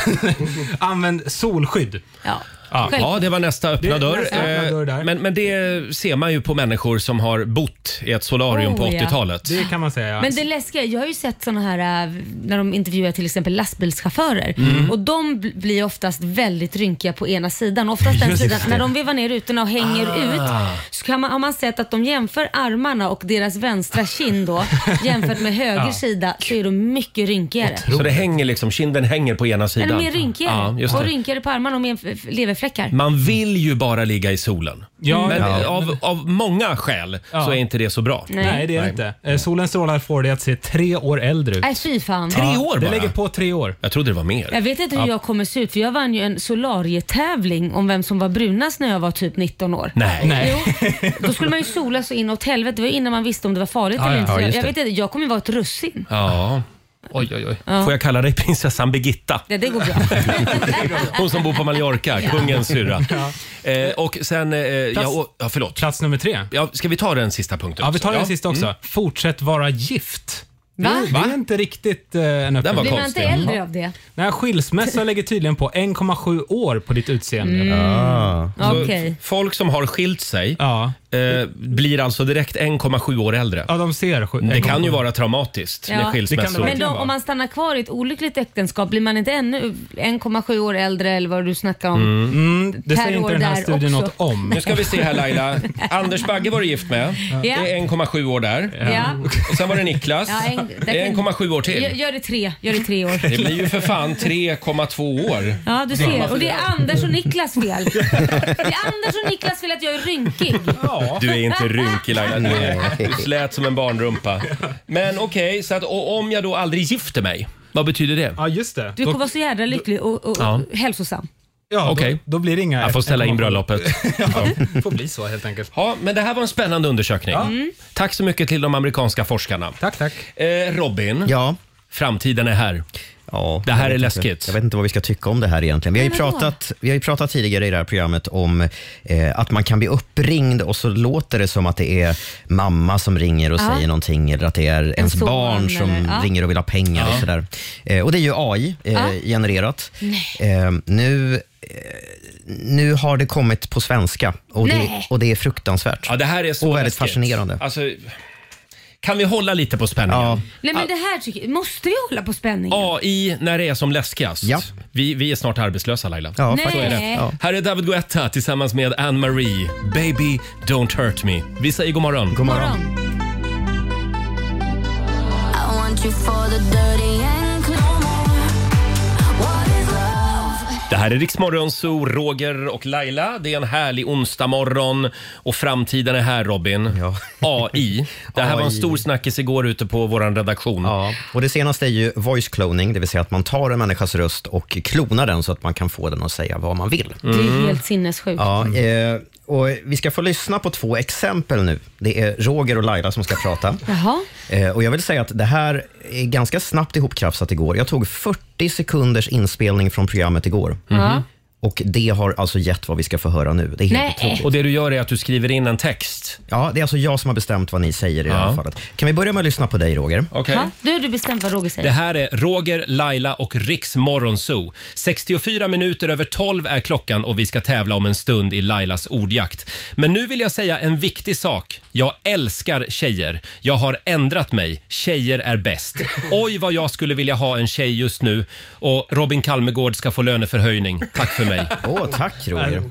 Använd solskydd. Ja. Ja, Själv- ja, det var nästa öppna Det är dörr. nästa öppna Eh, men, men det ser man ju på människor som har bott i ett solarium Oh, på ja. 80-talet. Det kan man säga. Men det läskiga, jag har ju sett såna här äh, när de intervjuar till exempel lastbilschaufförer Mm. och de bl- blir oftast väldigt rynkiga på ena sidan. Oftast den Just sidan, det. när de vevar ner rutorna och hänger Ah. ut så kan man, har man sett att de jämför armarna och deras vänstra (laughs) kind då jämfört med höger Ja. sida så är de mycket rynkigare. Så det hänger liksom, kinden hänger på ena Är sidan. de mer rynkigare? Ja, just och det. rynkigare på armarna och mer f- f- leverfläckar. Man vill ju bara ligga i solen. Ja, men ja. Av, av många skäl så är inte det så bra. Nej. Nej, det är det inte. Eh, Solens strålar får dig att se tre år äldre ut. Nej, fy fan. Ja, Det lägger på tre år. Jag trodde det var mer. Jag vet inte hur jag kommer se ut för jag vann ju en solarietävling om vem som var brunast när jag var typ 19 år. Nej. Jo, då skulle man ju sola så inåt helvete. Det var ju innan man visste om det var farligt Ja, eller ja. inte. Så Ja, jag, just jag det. vet inte, jag kommer ju vara ett russin. Ja. Oj, oj, oj. Ja. Får jag kalla dig prinsessan Birgitta? Det, det (laughs) går bra. Hon som bor på Mallorca, kungens syrra. Eh, och sen... Eh, Plats- ja, och, ja, förlåt. Plats nummer tre. Ja, ska vi ta den sista punkten? Ja, vi tar den också? Mm. sista också. Fortsätt vara gift. Va? Det är inte riktigt eh, en öppen Blir man inte äldre av det? Nej, skilsmässa lägger tydligen på 1,7 år på ditt utseende. Mm. Ah. Så Okej. Folk som har skilt sig eh, blir alltså direkt 1,7 år äldre. Ja, de ser Det kan ju vara traumatiskt med skilsmässor. Men då, om man stannar kvar i ett olyckligt äktenskap, blir man inte ännu 1,7 år äldre eller vad du snackar om? Mm. Mm, det Per år där också. (laughs) Nu ska vi se här Laila. Anders Bagge var du gift med. Ja. Det är 1,7 år där. Ja. Och sen var det Niklas. Ja, en- där det är kan- 1,7 år Gör, till. gör det tre, gör det tre år. Det blir ju för fan 3,2 år. Ja, du ser. Och det är Anders och (laughs) Niklas fel. Det är Anders och Niklas fel att jag är rynkig. Du är inte rynkig Laila. Du, är, du slät som en barnrumpa. Men okej, så att och om jag då aldrig gifter mig, vad betyder det? Ja, just det. Du kommer vara så jädra lycklig och, och, och Ja. hälsosam. Ja, då- Okej. då, blir det inga... Jag får ställa in bröllopet. (laughs) Det får bli så helt enkelt. Ja, men det här var en spännande undersökning. Tack så mycket till de amerikanska forskarna. Tack, tack. Eh, Robin, framtiden är här. Ja, Det här jag är vet läskigt. Inte, jag vet inte vad vi ska tycka om det här egentligen. Vi har ju, Nej, vadå? pratat, vi har ju pratat tidigare i det här programmet om eh, att man kan bli uppringd och så låter det som att det är mamma som ringer och Ja. säger någonting eller att det är ens son barn som eller- ja. ringer och vill ha pengar Ja. och sådär. Eh, och det är ju AI eh, Ja. genererat. Nej. Eh, nu, eh, nu har det kommit på svenska och, det, Nej. och det är fruktansvärt. Ja, det här är så och väldigt läskigt. fascinerande. Alltså, kan vi hålla lite på spänningen? Nej men det här tycker jag, måste vi hålla på spänningen? AI när det är som läskigast. Vi, vi är snart arbetslösa Laila. Så Ja, faktiskt. är det. Nej. Ja. Här är David Guetta tillsammans med Anne-Marie. Baby, don't hurt me. Vi säger god morgon. God morgon. I want you for the dirty and clean. What is love? Det här är Riksmorgon Zoo, Roger och Laila. Det är en härlig onsdagmorgon och framtiden är här Robin. (laughs) AI. Det här var en AI. stor snackis igår ute på vår redaktion. Ja, och det senaste är ju voice cloning, det vill säga att man tar en människas röst och klonar den så att man kan få den att säga vad man vill. Det är helt sinnessjukt. Mm. Ja, eh, och vi ska få lyssna på två exempel nu. Det är Roger och Laila som ska prata. Jaha. Eh, och jag vill säga att det här är ganska snabbt ihopkrafsat igår. Jag tog 40 sekunders inspelning från programmet igår. Ja. Och det har alltså gett vad vi ska få höra nu. Det är helt Nej. otroligt. Och det du gör är att du skriver in en text? Ja, det är alltså jag som har bestämt vad ni säger i det här fallet. Kan vi börja med att lyssna på dig, Roger? Okej. Ha? Du har du bestämt vad Roger säger. Det här är Roger, Laila och Riks Morgonzoo. 64 minuter över 12 är klockan och vi ska tävla om en stund i Lailas ordjakt. Men nu vill jag säga en viktig sak. Jag älskar tjejer. Jag har ändrat mig. Tjejer är bäst. Oj, vad jag skulle vilja ha en tjej just nu. Och Robin Kalmegård ska få löneförhöjning. Tack för mig. Åh, tack Roger.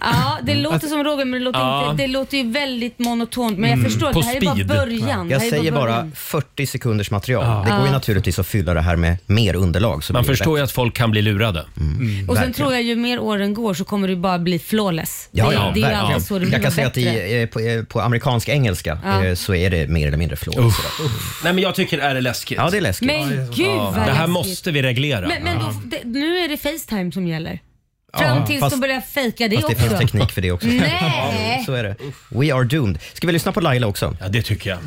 Ja, det Mm. Alltså- låter som Roger men det låter, Ja. inte, det låter ju väldigt monotont. Men jag Mm. förstår, att det här är bara början. Det Jag här är säger bara början. 40 sekunders material. Det går Ja. ju naturligtvis att fylla det här med mer underlag. Så Man förstår ju att folk kan bli lurade. Och sen tror jag ju mer åren går så kommer det bara bli flawless. Ja, ja, det, det är ju verkligen. alltid så det blir jag kan bara säga att bättre. i, eh, på, eh, på amerikansk engelska Ja. eh, så är det mer eller mindre flås. Nej, men jag tycker det här är läskigt. Ja, det är läskigt. Men gud vad Det här läskigt. måste vi reglera. Men, men då, det, nu är det Facetime som gäller. Ja, Fram tills fast- de börjar fejka det Fast det också. finns teknik för det också. Nej. (laughs) så är det. We are doomed. Ska vi lyssna på Laila också? Ja, det tycker jag.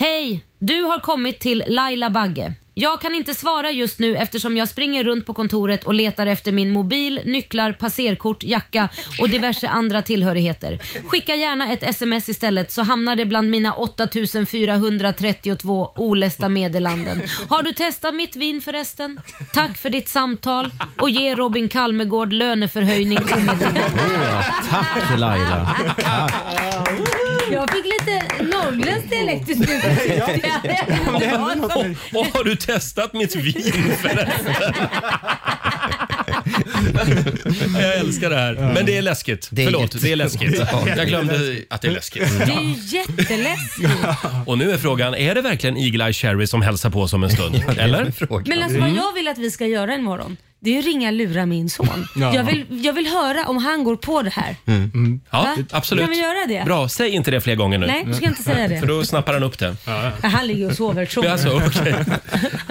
Hej! Du har kommit till Laila Bagge. Jag kan inte svara just nu eftersom jag springer runt på kontoret och letar efter min mobil, nycklar, passerkort, jacka och diverse andra tillhörigheter. Skicka gärna ett sms istället så hamnar det bland mina 8432 olästa meddelanden. Har du testat mitt vin förresten? Tack för ditt samtal och ge Robin Kalmegård löneförhöjning omedelbart. Tack (laughs) Laila. Tack. Jag fick lite norrländsk dialekt i slutet. (laughs) Och, och har du testat mitt vin förresten? Jag älskar det här. Men det är läskigt. är Förlåt, det är läskigt. jätteläskigt. Jag glömde att det är läskigt. Det är ju jätteläskigt. Och nu är frågan, är det verkligen Eagle-Eye Cherry som hälsar på oss om en stund? Eller? Men alltså Mm. vad jag vill att vi ska göra imorgon, det är ju ringa och lura min son. Ja. Jag, vill, jag vill höra om han går på det här. Mm. Mm. Ja, Va? absolut. Kan vi göra det? Bra, säg inte det fler gånger nu. Nej, du ska inte säga det. För då snappar han upp det. Ja, han ligger och sover tror Ja, jag. alltså, okej.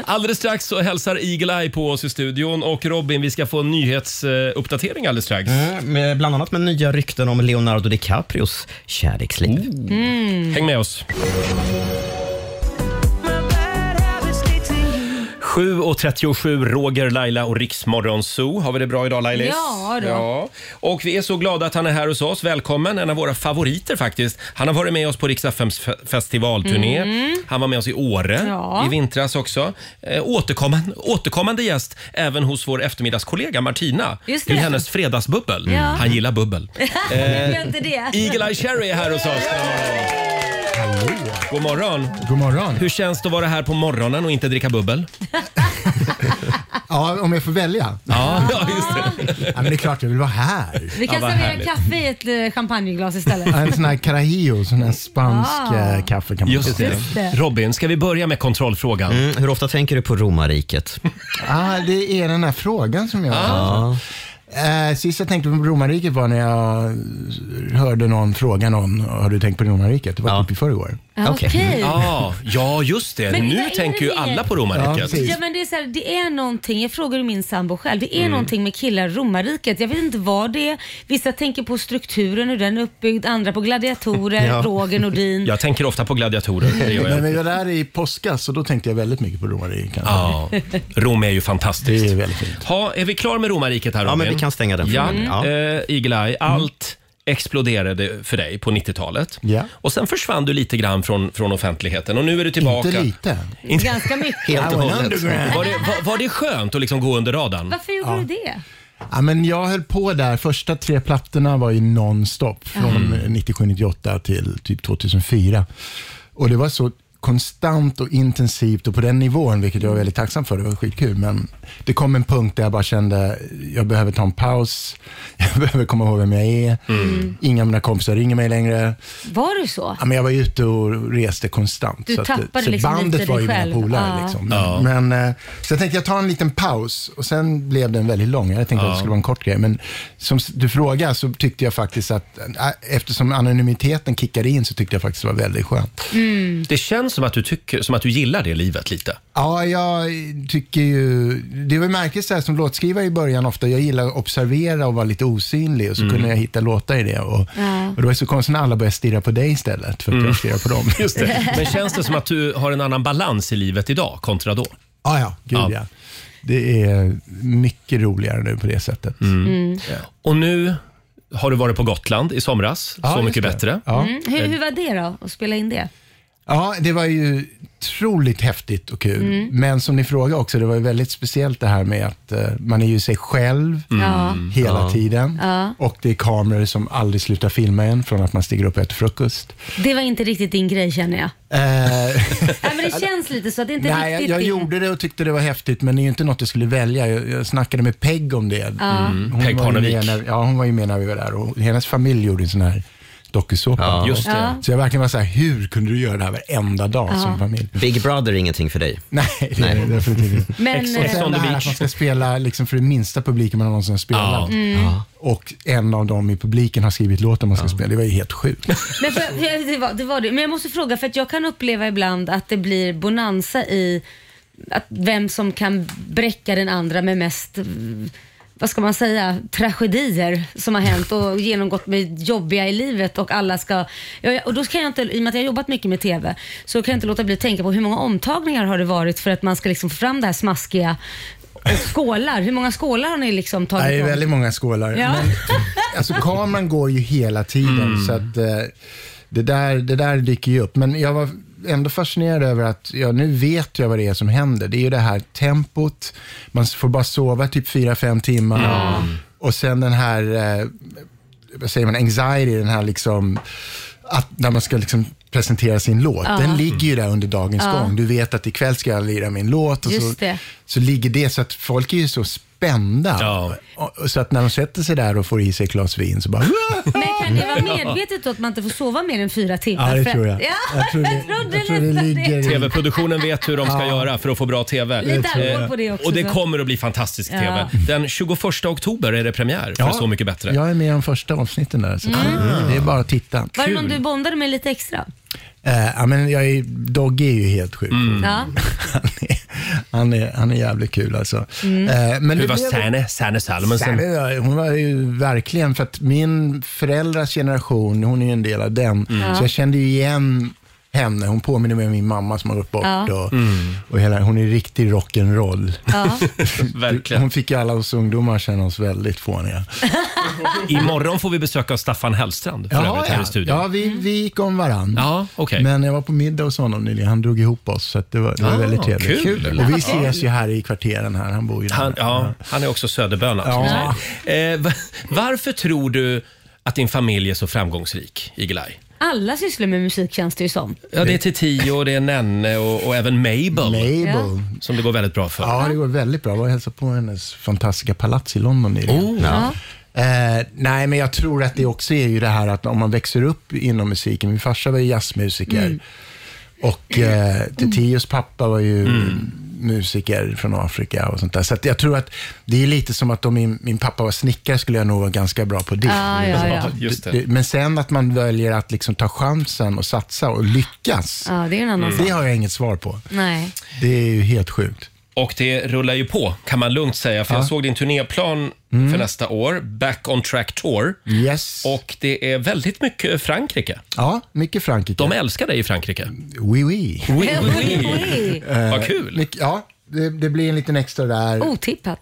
Alldeles strax så hälsar Eagle-Eye på oss i studion och Robin, vi ska få en nyhetsuppdatering alldeles strax. Mm, med- Bland annat med nya rykten om Leonardo DiCaprios kärleksliv. Häng med oss. 7.37, Roger, Laila och Riksmorgon Zoo. Har vi det bra idag Lailis? Ja då. Ja. Och vi är så glada att han är här hos oss. Välkommen, en av våra favoriter faktiskt. Han har varit med oss på Rix FMs fe- festivalturné. Mm. Han var med oss i Åre Ja. i vintras också. Eh, återkommande, återkommande gäst även hos vår eftermiddagskollega Martina. Just är det. hennes fredagsbubbel. Ja. Han gillar bubbel. Eh, Gör inte det. Eagle-Eye Cherry är här hos oss. Hallå. God morgon. God morgon. Hur känns det att vara här på morgonen och inte dricka bubbel? Ja, om jag får välja. Ja, (laughs) ja just det. Ja, men det är klart jag vill vara här. Vi kan ja, servera kaffe i ett eh, champagneglas istället. En sån här carajillo, sån här spansk Ah. eh, kaffe kan man Just säga. Just det. Robin, ska vi börja med kontrollfrågan? Mm, hur ofta tänker du på romarriket? Ah, det är den här frågan som jag har. Eh, sist jag tänkte på romarriket var när jag hörde någon fråga någon, har du tänkt på romarriket? Det var typ i förrgår. Ja, Okej. okej. Ja, ja, just det. Men vad nu är tänker ju det? alla på romarriket. Ja men det är så här, det är någonting, jag frågade min sambo själv, det är Mm. någonting med killar i romarriket. Jag vet inte vad det är. Vissa tänker på strukturen, hur den är uppbyggd, andra på gladiatorer, Ja. Roger Nordin. Jag tänker ofta på gladiatorer. Det gör Nej, jag. men jag var där i påskas och då tänkte jag väldigt mycket på romarriket. Ja, Rom är ju fantastiskt. Det är väldigt fint. Ha, är vi klar med romarriket här Ja, Robin? men vi kan stänga den Ja, frågan. Ja. Mm. Eh, Eagle-Eye, allt exploderade för dig på 90-talet. Ja. Och sen försvann du lite grann från, från offentligheten och nu är du tillbaka. Inte lite. Inte- Ganska mycket. (laughs) Var det, var, var det skönt att liksom gå under radarn? Varför gjorde Ja. du det? Ja, men jag höll på där. Första tre plattorna var ju non-stop från Mm. 97-98 till typ 2004. Och det var så konstant och intensivt och på den nivån, vilket jag var väldigt tacksam för. Det var skitkul. Men det kom en punkt där jag bara kände, jag behöver ta en paus. (laughs) Jag behöver komma ihåg vem jag är. Inga av mina kompisar ringer mig längre. Var du så? Ja, men jag var ute och reste konstant. Du att- tappade liksom bandet lite var dig ju själv. mina polare. Ja. Liksom. Ja. Men, eh, så jag tänkte jag tar en liten paus och sen blev den väldigt lång. Jag tänkte Ja. att det skulle vara en kort grej. Men som s- du frågar så tyckte jag faktiskt att eh, eftersom anonymiteten kickade in så tyckte jag faktiskt det var väldigt skönt. Det känns som att, du tycker, som att du gillar det livet lite. Ja, jag tycker ju... Det var märkligt så här, som låtskrivare i början ofta. Jag gillar att observera och vara lite osynlig och så Mm. kunde jag hitta låtar i det. Och, Ja. och det var så konstigt när alla började stirra på dig istället för att jag stirrar på dem. Mm. (laughs) Just det. Men känns det som att du har en annan balans i livet idag kontra då? Ah, ja, gud Ja. ja. Det är mycket roligare nu på det sättet. Mm. Och nu har du varit på Gotland i somras. Ja, så just mycket det. bättre. Ja. Mm. Hur, hur var det då, att spela in det? Ja, det var ju otroligt häftigt och kul. Mm. Men som ni frågade också, det var ju väldigt speciellt det här med att eh, man är ju sig själv Mm. Ja. hela Ja. tiden. Ja. Och det är kameror som aldrig slutar filma en från att man stiger upp och äter (laughs) frukost. Det var inte riktigt din grej känner (laughs) jag. Eh, Nej, men det känns lite så att det inte Nej, jag, riktigt jag din... gjorde det och tyckte det var häftigt, men det är ju inte något jag skulle välja. Jag, jag snackade med Peg om det. Ja. Mm, Hon Peg var ju Parnevik. med när- Ja, hon var ju med när vi var där och hennes familj gjorde en sån här dokusåpa. Ja. Just det. Ja. Så jag verkligen var så här, hur kunde du göra det här varenda dag Ja. som familj? (laughs) Big Brother är ingenting för dig. Nej, det är det definitivt inte. Men, eh, Ex och on the sen det här beach. att man ska spela liksom för den minsta publiken man någonsin har spelat. Ja. Mm. Ja. Och en av dem i publiken har skrivit låten man ska spela. Det var ju helt sjukt. Men, för, för- det var, det var det. Men jag måste fråga, för att jag kan uppleva ibland att det blir bonanza i att vem som kan bräcka den andra med mest mm, vad ska man säga, tragedier som har hänt och genomgått med jobbiga i livet och alla ska, ja, och då kan jag inte, i och med att jag har jobbat mycket med TV, så kan jag inte låta bli att tänka på hur många omtagningar har det varit för att man ska liksom få fram det här smaskiga och skålar, hur många skålar har ni liksom tagit Det är om? väldigt många skålar. Ja. Men, alltså, kameran går ju hela tiden, så att, eh, det, där, det där dyker ju upp. Men jag var ändå fascinerad över att ja, nu vet jag vad det är som händer. Det är ju det här tempot, man får bara sova typ 4-5 timmar och sen den här eh, vad säger man, anxiety, den här liksom, att, när man ska liksom presentera sin låt, Ja. den ligger ju där under dagens Ja. gång. Du vet att ikväll ska jag lira min låt och Just så, det. så ligger det så att folk är ju så spända. Och- och Så att när de sätter sig där och får i sig ett glas vin så bara... Men kan det vara medvetet då att man inte får sova mer än fyra timmar? Ja, det För- tror jag. Ja, Jag tror det- trodde jag tror det nästan ligger i- TV-produktionen vet hur de ska göra för att få bra TV. Lite alkohol Eh, på det också, Och det så. kommer att bli fantastisk Ja. TV. Den 21 oktober är det premiär för Ja. Så mycket bättre. Jag är med i de första avsnitten där, så att Mm. det är bara att titta. Var det någon du bondade med lite extra? Eh, ja, men jag är, Dogge är ju helt sjuk. Ja. (laughs) Han, är, han är jävligt kul alltså. Mm. Eh, Hur det var blev- Sanne- Sanne Salomonsen? Sanne, ja, hon var ju verkligen, för att min föräldrars generation, hon är ju en del av den, Ja. Mm. så jag kände ju igen henne. Hon påminner mig om min mamma som har gått bort. Ja. Och, Mm. och hela, hon är riktig rock'n'roll. Ja. Verkligen. Hon fick ju alla oss ungdomar att känna oss väldigt fåniga. Imorgon får vi besök av Staffan Hellstrand för övrigt här i ja. studion. ja vi, vi gick om varandra. Ja, okay. Men jag var på middag hos honom nyligen. Han drog ihop oss, så att det var, det var Ah, väldigt trevligt. kul. Och vi ses ju här i kvarteren här. Han bor ju där. Han, ja, han är också söderböna. ska vi Ja. säga. Eh, va- varför tror du att din familj är så framgångsrik, Igelaj? Alla sysslar med musik känns det ju som. Ja, det är Titi och det är Nenne och, och även Mabel. Mabel. Som det går väldigt bra för. Ja, det går väldigt bra. Jag var och hälsade på hennes fantastiska palats i London nyligen. Oh, Ja. Eh, nej, men jag tror att det också är ju det här att om man växer upp inom musiken. Min farsa var ju jazzmusiker. Mm. Och eh, Tetios pappa var ju Mm. musiker från Afrika och sånt där. Så att jag tror att det är lite som att om min, min pappa var snickare skulle jag nog vara ganska bra på det. Ja, ja, ja. Just det. Men sen att man väljer att liksom ta chansen och satsa och lyckas. Ja, det är en annan det sak. har jag inget svar på. Nej. Det är ju helt sjukt. Och det rullar ju på, kan man lugnt säga. För jag såg din turnéplan för nästa år, Back on Track Tour. Yes. Och det är väldigt mycket Frankrike. Ja, mycket Frankrike. De älskar dig i Frankrike. Oui, oui. Oui, oui, oui. (laughs) Vad kul. mycket- Ja, det, det blir en liten extra där. Oh. Otippat.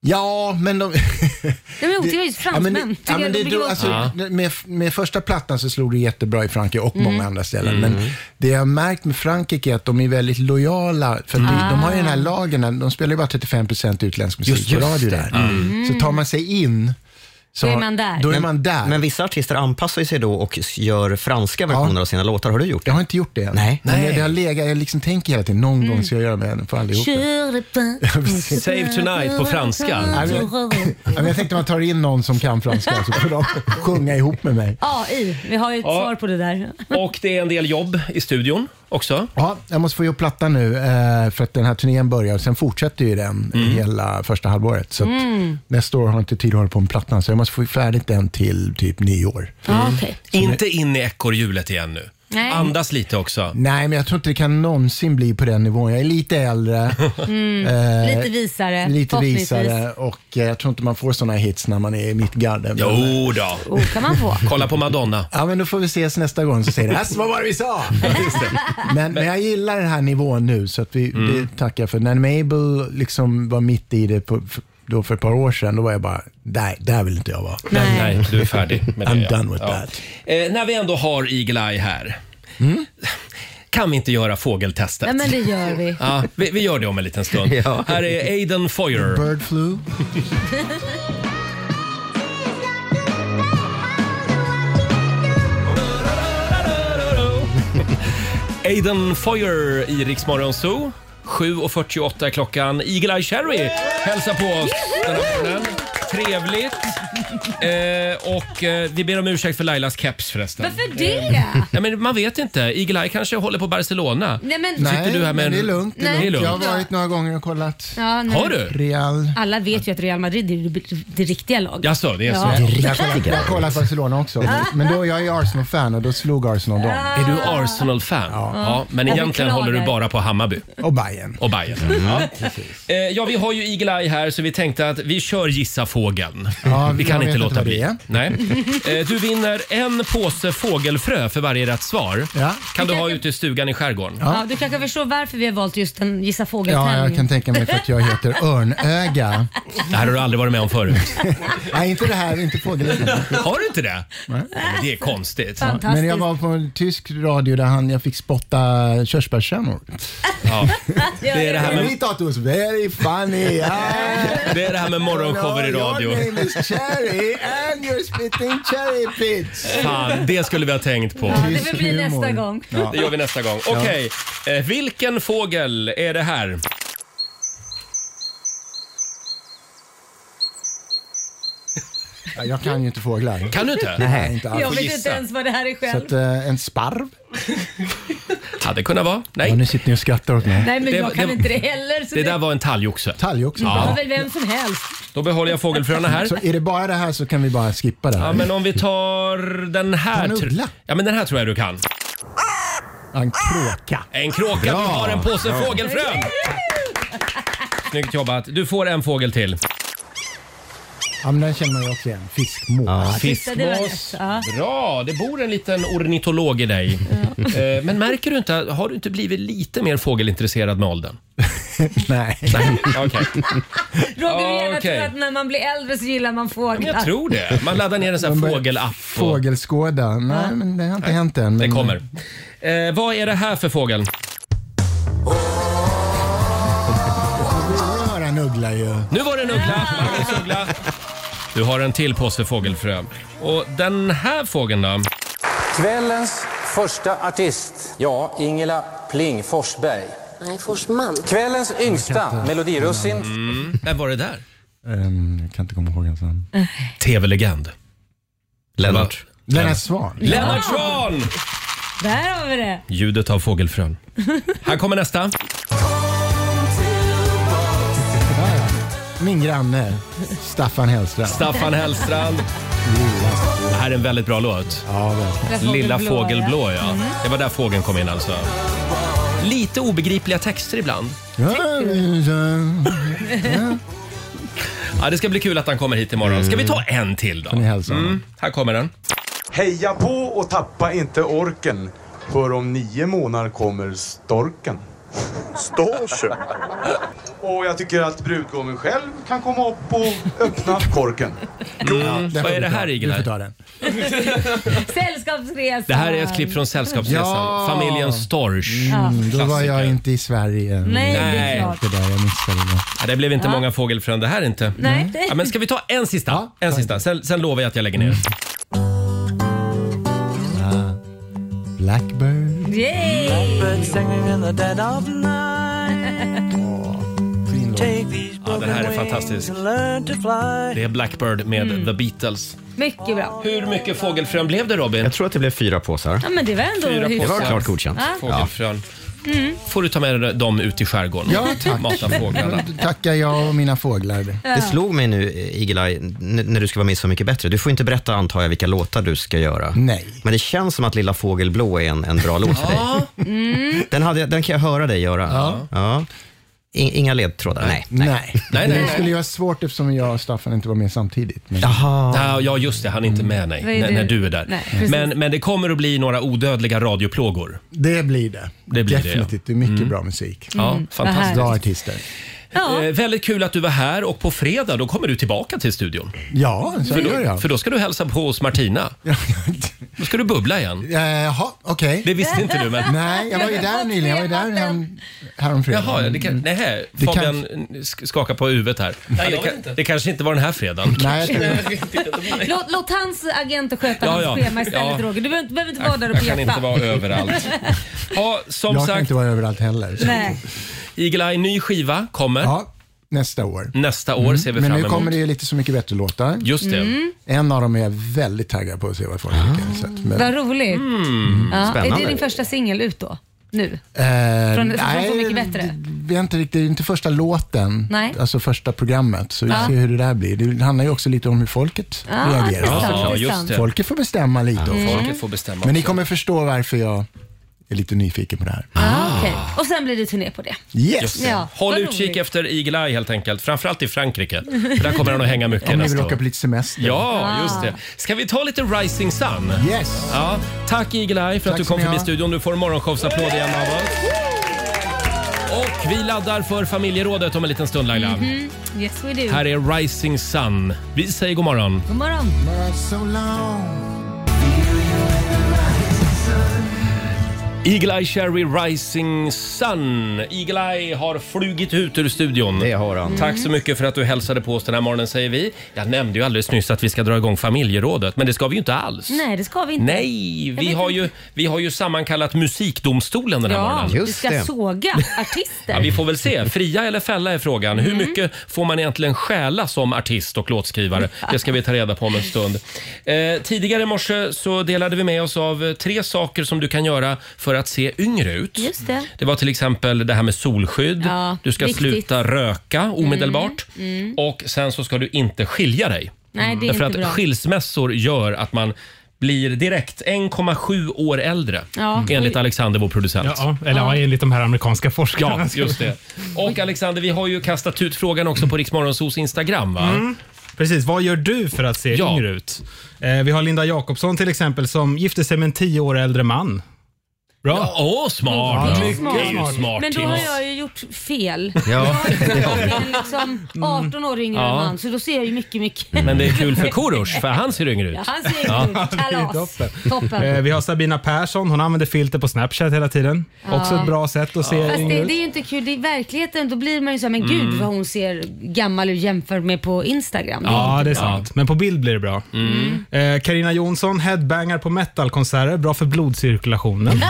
Ja, men de... (laughs) Nej, men otippat, just Ja, men, fransmän. det- Tycker ja, jag men de brukar det, drog, vara- alltså, med, med första plattan så slog det jättebra i Frankrike och Mm. många andra ställen. Mm. Men det jag har märkt med Frankrike är att de är väldigt lojala. För att de, de har ju Ah. den här lagen, de spelar ju bara 35% utländsk musik Just- på just radio det. där. Mm. Så tar man sig in så, Då är man där. Då är Men- man där. Men vissa artister anpassar ju sig då och gör franska versioner av sina låtar. Har du gjort det? Jag har inte gjort det än. Nej. Men jag- det har legat, jag liksom tänker hela tiden, någon Mm. gång ska jag göra med för allihopa. Kör det på- precis. Save Tonight på franska. Ja, men- ja, men jag tänkte man tar in någon som kan franska så (laughs) får de sjunga ihop med mig. AI, vi har ju ett svar på det Mm. där. Och det är en del jobb i studion också. Ja, jag måste få ihop plattan nu eh, för att den här turnén börjar och sen fortsätter ju den hela första halvåret. Så att Mm. nästa år har jag inte tid att hålla på med plattan så jag måste få färdigt den till typ nyår. Ja, okej. Inte in i ekorrhjulet igen nu. Nej. Andas lite också. Nej, men jag tror inte det kan någonsin bli på den nivån. Jag är lite äldre. Mm. eh, Lite (laughs) visare. Lite förhoppningsvis. visare och eh, jag tror inte man får såna hits när man är i mitt garde. Men- Jo då. Oh, kan man få. Kolla på Madonna. Ja, men då får vi ses nästa gång så säger det. "Alltså, vad var det vi sa? Men, men jag gillar den här nivån nu, så att vi, det tackar jag för. När Mabel liksom var mitt i det på, för, då för ett par år sedan, då var jag bara, nej, där vill inte jag vara. (laughs) Nej. Nej, du är färdig med det. I'm ja. done with Ja. that. Eh, när vi ändå har Eagle-Eye här. Mm. Kan vi inte göra fågeltestet? Nej, men det gör (laughs) vi. Ja, vi, vi gör det om en liten stund. Ja. Här är Aiden Foyer. (laughs) Bird flu. Aiden Foyer i Rix Morgon Zoo. 7.48 är klockan. Eagle-Eye Cherry hälsar på oss den här morgonen. (laughs) Trevligt. Eh, och eh, vi ber om ursäkt för Lailas keps förresten. Varför det? Ja, men man vet inte. Eagle Eye kanske håller på Barcelona. Nej, men- Så sitter Nej, du här med men en- det är lugnt. Det Nej. är lugnt. Jag har Ja. varit några gånger och kollat. Ja, nej, Har men- du? Real. Alla vet ju att Real Madrid är det, det riktiga laget. Jaså, det är så? Ja. Det Jag har kollat- jag har kollat Barcelona också, men- men då jag är Arsenal-fan och då slog Arsenal dem. Är du Arsenal-fan? Ja. men Jag egentligen beklagar. håller du bara på Hammarby. Och Bayern. Och Bayern. Ja. Eh, ja, vi har ju Eagle Eye här så vi tänkte att vi kör Gissa fågeln. Ja, vi kan jag inte vet låta inte vad bli. det är. Nej. Eh, du vinner en påse fågelfrö för varje rätt svar. Kan du ha ute i stugan i skärgården. Ja. du kanske förstår varför vi har valt just en gissa Ja, fågeltävling. jag kan tänka mig för att jag heter Örnöga. Det här har du aldrig varit med om förut. Nej, inte det här, inte fågelöga. Har du inte det? Nej. men det är konstigt. Men jag var på en tysk radio där han, jag fick spotta körsbärskärnor. Ja. Det är det här med- We thought it was very funny. (laughs) Det är det här med morgonshower i radio. Your name is Cherry and you're spitting cherry pits. Fan, det skulle vi ha tänkt på. Ja, det får bli Humor. nästa gång. Ja. Det gör vi nästa gång. Okej, eh, vilken fågel är det här? Ja, Jag kan ju inte fåglar. Kan du inte? Nej, inte alls. Jag vet inte ens vad det här är Så själv. att, eh, en sparv? Hade kunnat vara. Nej. Ja, nu sitter ni och skrattar åt mig. Nej, men Det- jag kan det- inte det heller. Så Det där var en talgoxe. Talgoxe? det var Ja. väl vem som helst. Då behåller jag fågelfröna här. Så är det bara det här så kan vi bara skippa det här. Ja, men om vi tar den här. Kan tr- Ja, men den här tror jag du kan. En kråka. En kråka. Bra. Du har en påse Bra. fågelfrön. Snyggt jobbat. Du får en fågel till. Ja, men den känner man ju också igen. Fiskmås. Fiskmås. Bra, det bor en liten ornitolog i dig. Eh, Men märker du inte, har du inte blivit lite mer fågelintresserad med åldern? (laughs) Nej. Nej, okej. Roger Ja, vill gärna okej. tro att när man blir äldre så gillar man Men fåglar. jag tror det. Man laddar ner en sån här fågelapp. Och... Fågelskåda. Nej, men det har inte hänt än. Det Men kommer. Eh, vad är det här för fågel? Nu var det en uggla ju. Nu var det en uggla. Magnus Uggla. Du har en till påse fågelfrö. Och den här fågeln då? Kvällens första artist, ja, Ingela Pling Forsberg. Nej, Forsman. Kvällens yngsta melodirussin. Mm. Vem var det där? Ehm, jag kan inte komma ihåg ens han. Tv-legend. Lennart. Lennart Swahn. Lennart Swahn! Där har vi det. Ljudet av fågelfrön. Här kommer nästa. Min granne, Staffan Hellstrand. Staffan Hellstrand. Det här är en väldigt bra låt. Lilla fågelblå, ja. Det var där fågeln kom in alltså. Lite obegripliga texter ibland. Mm, Ja, det ska bli kul att han kommer hit imorgon. Ska vi ta en till då? Mm, här kommer den. Heja på och tappa inte orken. För om nio månader kommer storken. Storchen? Och jag tycker att brudgummen själv kan komma upp och öppna korken. Mm, vad är det här Igel? Sällskapsresan. Det här är ett klipp från Sällskapsresan. Ja. Familjen Storch. Mm, då var Klassiker. Mm. jag inte i Sverige. Nej, det är Nej. klart. Det där jag missade det. Ja, det blev inte Ja. många fågelfrön det här inte. Nej. Ja, men ska vi ta en sista? en sista. Sen, sen lovar jag att jag lägger ner. Blackbird. Yay! Ja, det här är fantastiskt. Det är Blackbird med The Beatles. Mycket bra. Hur mycket fågelfrön blev det Robin? Jag tror att det blev fyra påsar. Ja, men det var ändå Fyra hyfsat. Det var klart godkänt. Ja. Fågelfrön. Mm. Får du ta med dig dem ut i skärgården? Ja, tack. Mata fåglarna. Då tackar jag och mina fåglar. Ja. Det slog mig nu, eh, Eagle-Eye, n- när du ska vara med Så mycket bättre. Du får inte berätta, antar jag, vilka låtar du ska göra. Nej. Men det känns som att Lilla Fågelblå är en, en bra låt för dig. Den, hade, jag- den kan jag höra dig göra. Ja. In, inga ledtrådar? Nej. Nej. nej, nej. Det skulle ju vara svårt eftersom jag och Staffan inte var med samtidigt. Men... Ja, ja, just det. Han är inte med nej, Vad är när, du? när du är där. Mm. Nej, precis. Mm. men, men det kommer att bli några odödliga radioplågor. Det blir det. Det blir det, ja. Definitivt. Det är mycket bra musik. Ja, Mm, vad fantastiskt. härligt. Bra artister. Eh, väldigt kul att du var här och på fredag då kommer du tillbaka till studion. Ja, så för, gör då, jag. för då ska du hälsa på hos Martina. Då ska du bubbla igen. Eh, Jaha, okej. Det visste inte du men... Nej, jag var ju där nyligen. Jag var ju där härom, häromfredagen. Jaha, det kan, nej, Mm. Det Fabian sk- skakar på huvudet här. Nej, jag det, vet kan- det kanske inte var den här fredagen. Nej, jag tror- Låt, låt hans agenter sköta Ja, hans ja. schema istället Ja. Roger. Du behöver inte, behöver inte vara Jag, där och peta. kan inte vara (laughs) överallt. Ja, som jag kan sagt, inte vara överallt heller. Nej. Eagle-Eye, ny skiva kommer. Ja, nästa år. Nästa år ser vi Men fram nu emot. kommer det ju lite Så mycket bättre låtar. Just det. Mm. En av dem är jag väldigt taggad på att se vad folk tycker. Så att- men- Vad roligt. Mm, Ja. Är det Spännande. din första singel ut då? Nu? Eh, Från, från nej, Så mycket bättre? Vi är inte riktigt, det är inte första låten, Nej. alltså första programmet. Så vi Ja. ser hur det där blir. Det handlar ju också lite om hur folket Ah, reagerar. intressant, Ja, just intressant. det. Folket får bestämma lite. Ja, också. folket får bestämma Mm. Men ni också. kommer förstå varför jag är lite nyfiken på det här. Ah. Okej. Och sen blir det turné på det. Yes. Just det. Ja, Håll vad utkik roligt. efter Eagle Eye helt enkelt. Framförallt i Frankrike. För där kommer han att hänga mycket Om ni vill nästa år. åka på lite semester. Ja, Ah. just det. Ska vi ta lite Rising Sun? Yes. Ja, tack Eagle-Eye för att Tack du kom ska ni förbi ha. studion. Du får en morgonshowsapplåd igen av oss. Och vi laddar för familjerådet om en liten stund Laila. Mhm. Yes we do. Här är Rising Sun. Vi säger god morgon. God morgon. Eagle-Eye Cherry Rising Sun. Eagle-Eye har flugit ut ur studion. Det har Mm. han. Tack så mycket för att du hälsade på oss den här morgonen säger vi. Jag nämnde ju alldeles nyss att vi ska dra igång familjerådet, men det ska vi ju inte alls. Nej, det ska vi inte. Nej, Jag vi vet har, ju, vi har ju sammankallat musikdomstolen den här Ja, morgonen. vi ska såga artister. (laughs) Ja, vi får väl se. Fria eller fälla är frågan. Hur Mm. mycket får man egentligen stjäla som artist och låtskrivare? Det ska vi ta reda på om en stund. Eh, tidigare i morse så delade vi med oss av eh, tre saker som du kan göra för att se yngre ut. Just det. Det var till exempel det här med solskydd. Ja, du ska viktigt. sluta röka omedelbart. Mm, mm. Och sen så ska du inte skilja dig. Mm. Nej, det är Därför inte att bra. skilsmässor gör att man blir direkt 1,7 år äldre Ja. Mm. enligt Alexander, vår producent. Ja, eller ja. enligt de här amerikanska forskarna. Ja, just det. Och Alexander, vi har ju kastat ut frågan också på Riksmorgonsos Instagram va? Mm. Precis, vad gör du för att se yngre ut? Eh, vi har Linda Jakobsson till exempel som gifte sig med en tio år äldre man. Bra. Ja, åh, smart. Ja, Ja. mycket Det är ju smart. Men då har tips. jag ju gjort fel. (laughs) Ja. Jag har ju varit en liksom 18 år yngre Ja. man, så då ser jag ju mycket, mycket. Men det är kul för Korosh, för han ser yngre ut. Ja, han ser yngre ut. (laughs) Kalas. Toppen. Eh, vi har Sabina Persson, hon använder filter på Snapchat hela tiden. Ja. Också ett bra sätt att se Fast yngre Mm. det, ut. det är ju inte kul. I verkligheten då blir man ju så här, men gud Mm. vad hon ser gammal ut jämfört med på Instagram. är Ja, inte det är bra. sant. Men på bild blir det bra. Mm. Eh, Carina Jonsson, headbangar på metalkonserter. Bra (laughs) för blodcirkulationen.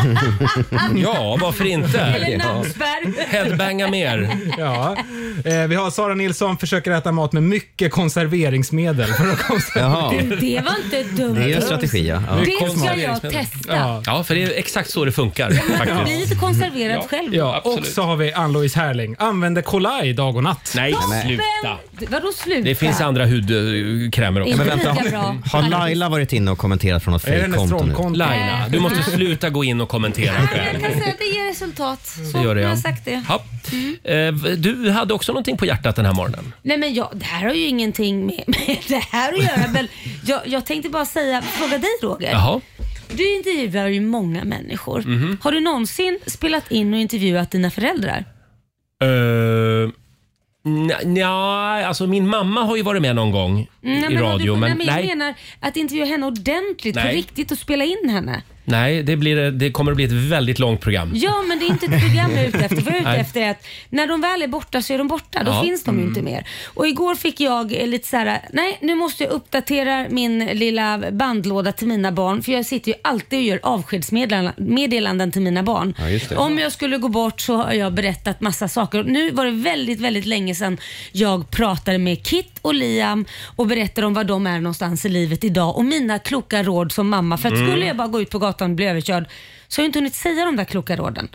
Ja, varför inte? Eller nattspärr. Headbanga mer. Ja. Eh, vi har Sara Nilsson, försöker äta mat med mycket konserveringsmedel. För (laughs) att konservera. Det var inte dumt. Det är ju en strategi, ja. Ja. Det ska jag Konserveringsmedel. testa. Ja, för det är exakt så det (laughs) funkar Bli faktiskt. lite konserverad själv. Ja, och så har vi Ann-Louise Härling. Använder Kolaj dag och natt. Nej, Toppen! sluta. Vadå sluta? Det finns andra hudkrämer också. Inte Men vänta. lika bra. Har Laila varit inne och kommenterat från något Är det hennes fejkkonto nu? trollkonto? Laila, du måste sluta gå in och kommentera själv. Jag kan säga att det ger resultat. Så Det gör det, jag har ja. sagt det. Ja. Mm. Eh, Du hade också någonting på hjärtat den här morgonen. Nej men jag, det här har ju ingenting med, (laughs) med det här att göra. Men jag, jag tänkte bara säga, fråga dig Roger. Jaha. Du intervjuar ju många människor. Mhm. Har du någonsin spelat in och intervjuat dina föräldrar? Uh, nej, alltså min mamma har ju varit med någon gång Nej, i Mm, men har radio, du, men nej, men nej, jag menar att intervjua henne ordentligt, på Nej. riktigt och spela in henne. nej det, blir, det kommer att bli ett väldigt långt program. Ja, men det är inte ett program jag är ute efter. Vad jag är ute Nej. efter är att när de väl är borta så är de borta. Då Ja. finns de ju Mm. inte mer. Och igår fick jag eh, lite så här: nej nu måste jag uppdatera min lilla bandlåda till mina barn. För jag sitter ju alltid och gör avskedsmeddelanden till mina barn. Ja, just det. Om jag skulle gå bort så har jag berättat massa saker. Nu var det väldigt, väldigt länge sedan jag pratade med Kit och Liam och berättade om var de är någonstans i livet idag och mina kloka råd som mamma. För att Mm. skulle jag bara gå ut på gatan och bli överkörd så har jag inte hunnit säga de där kloka råden.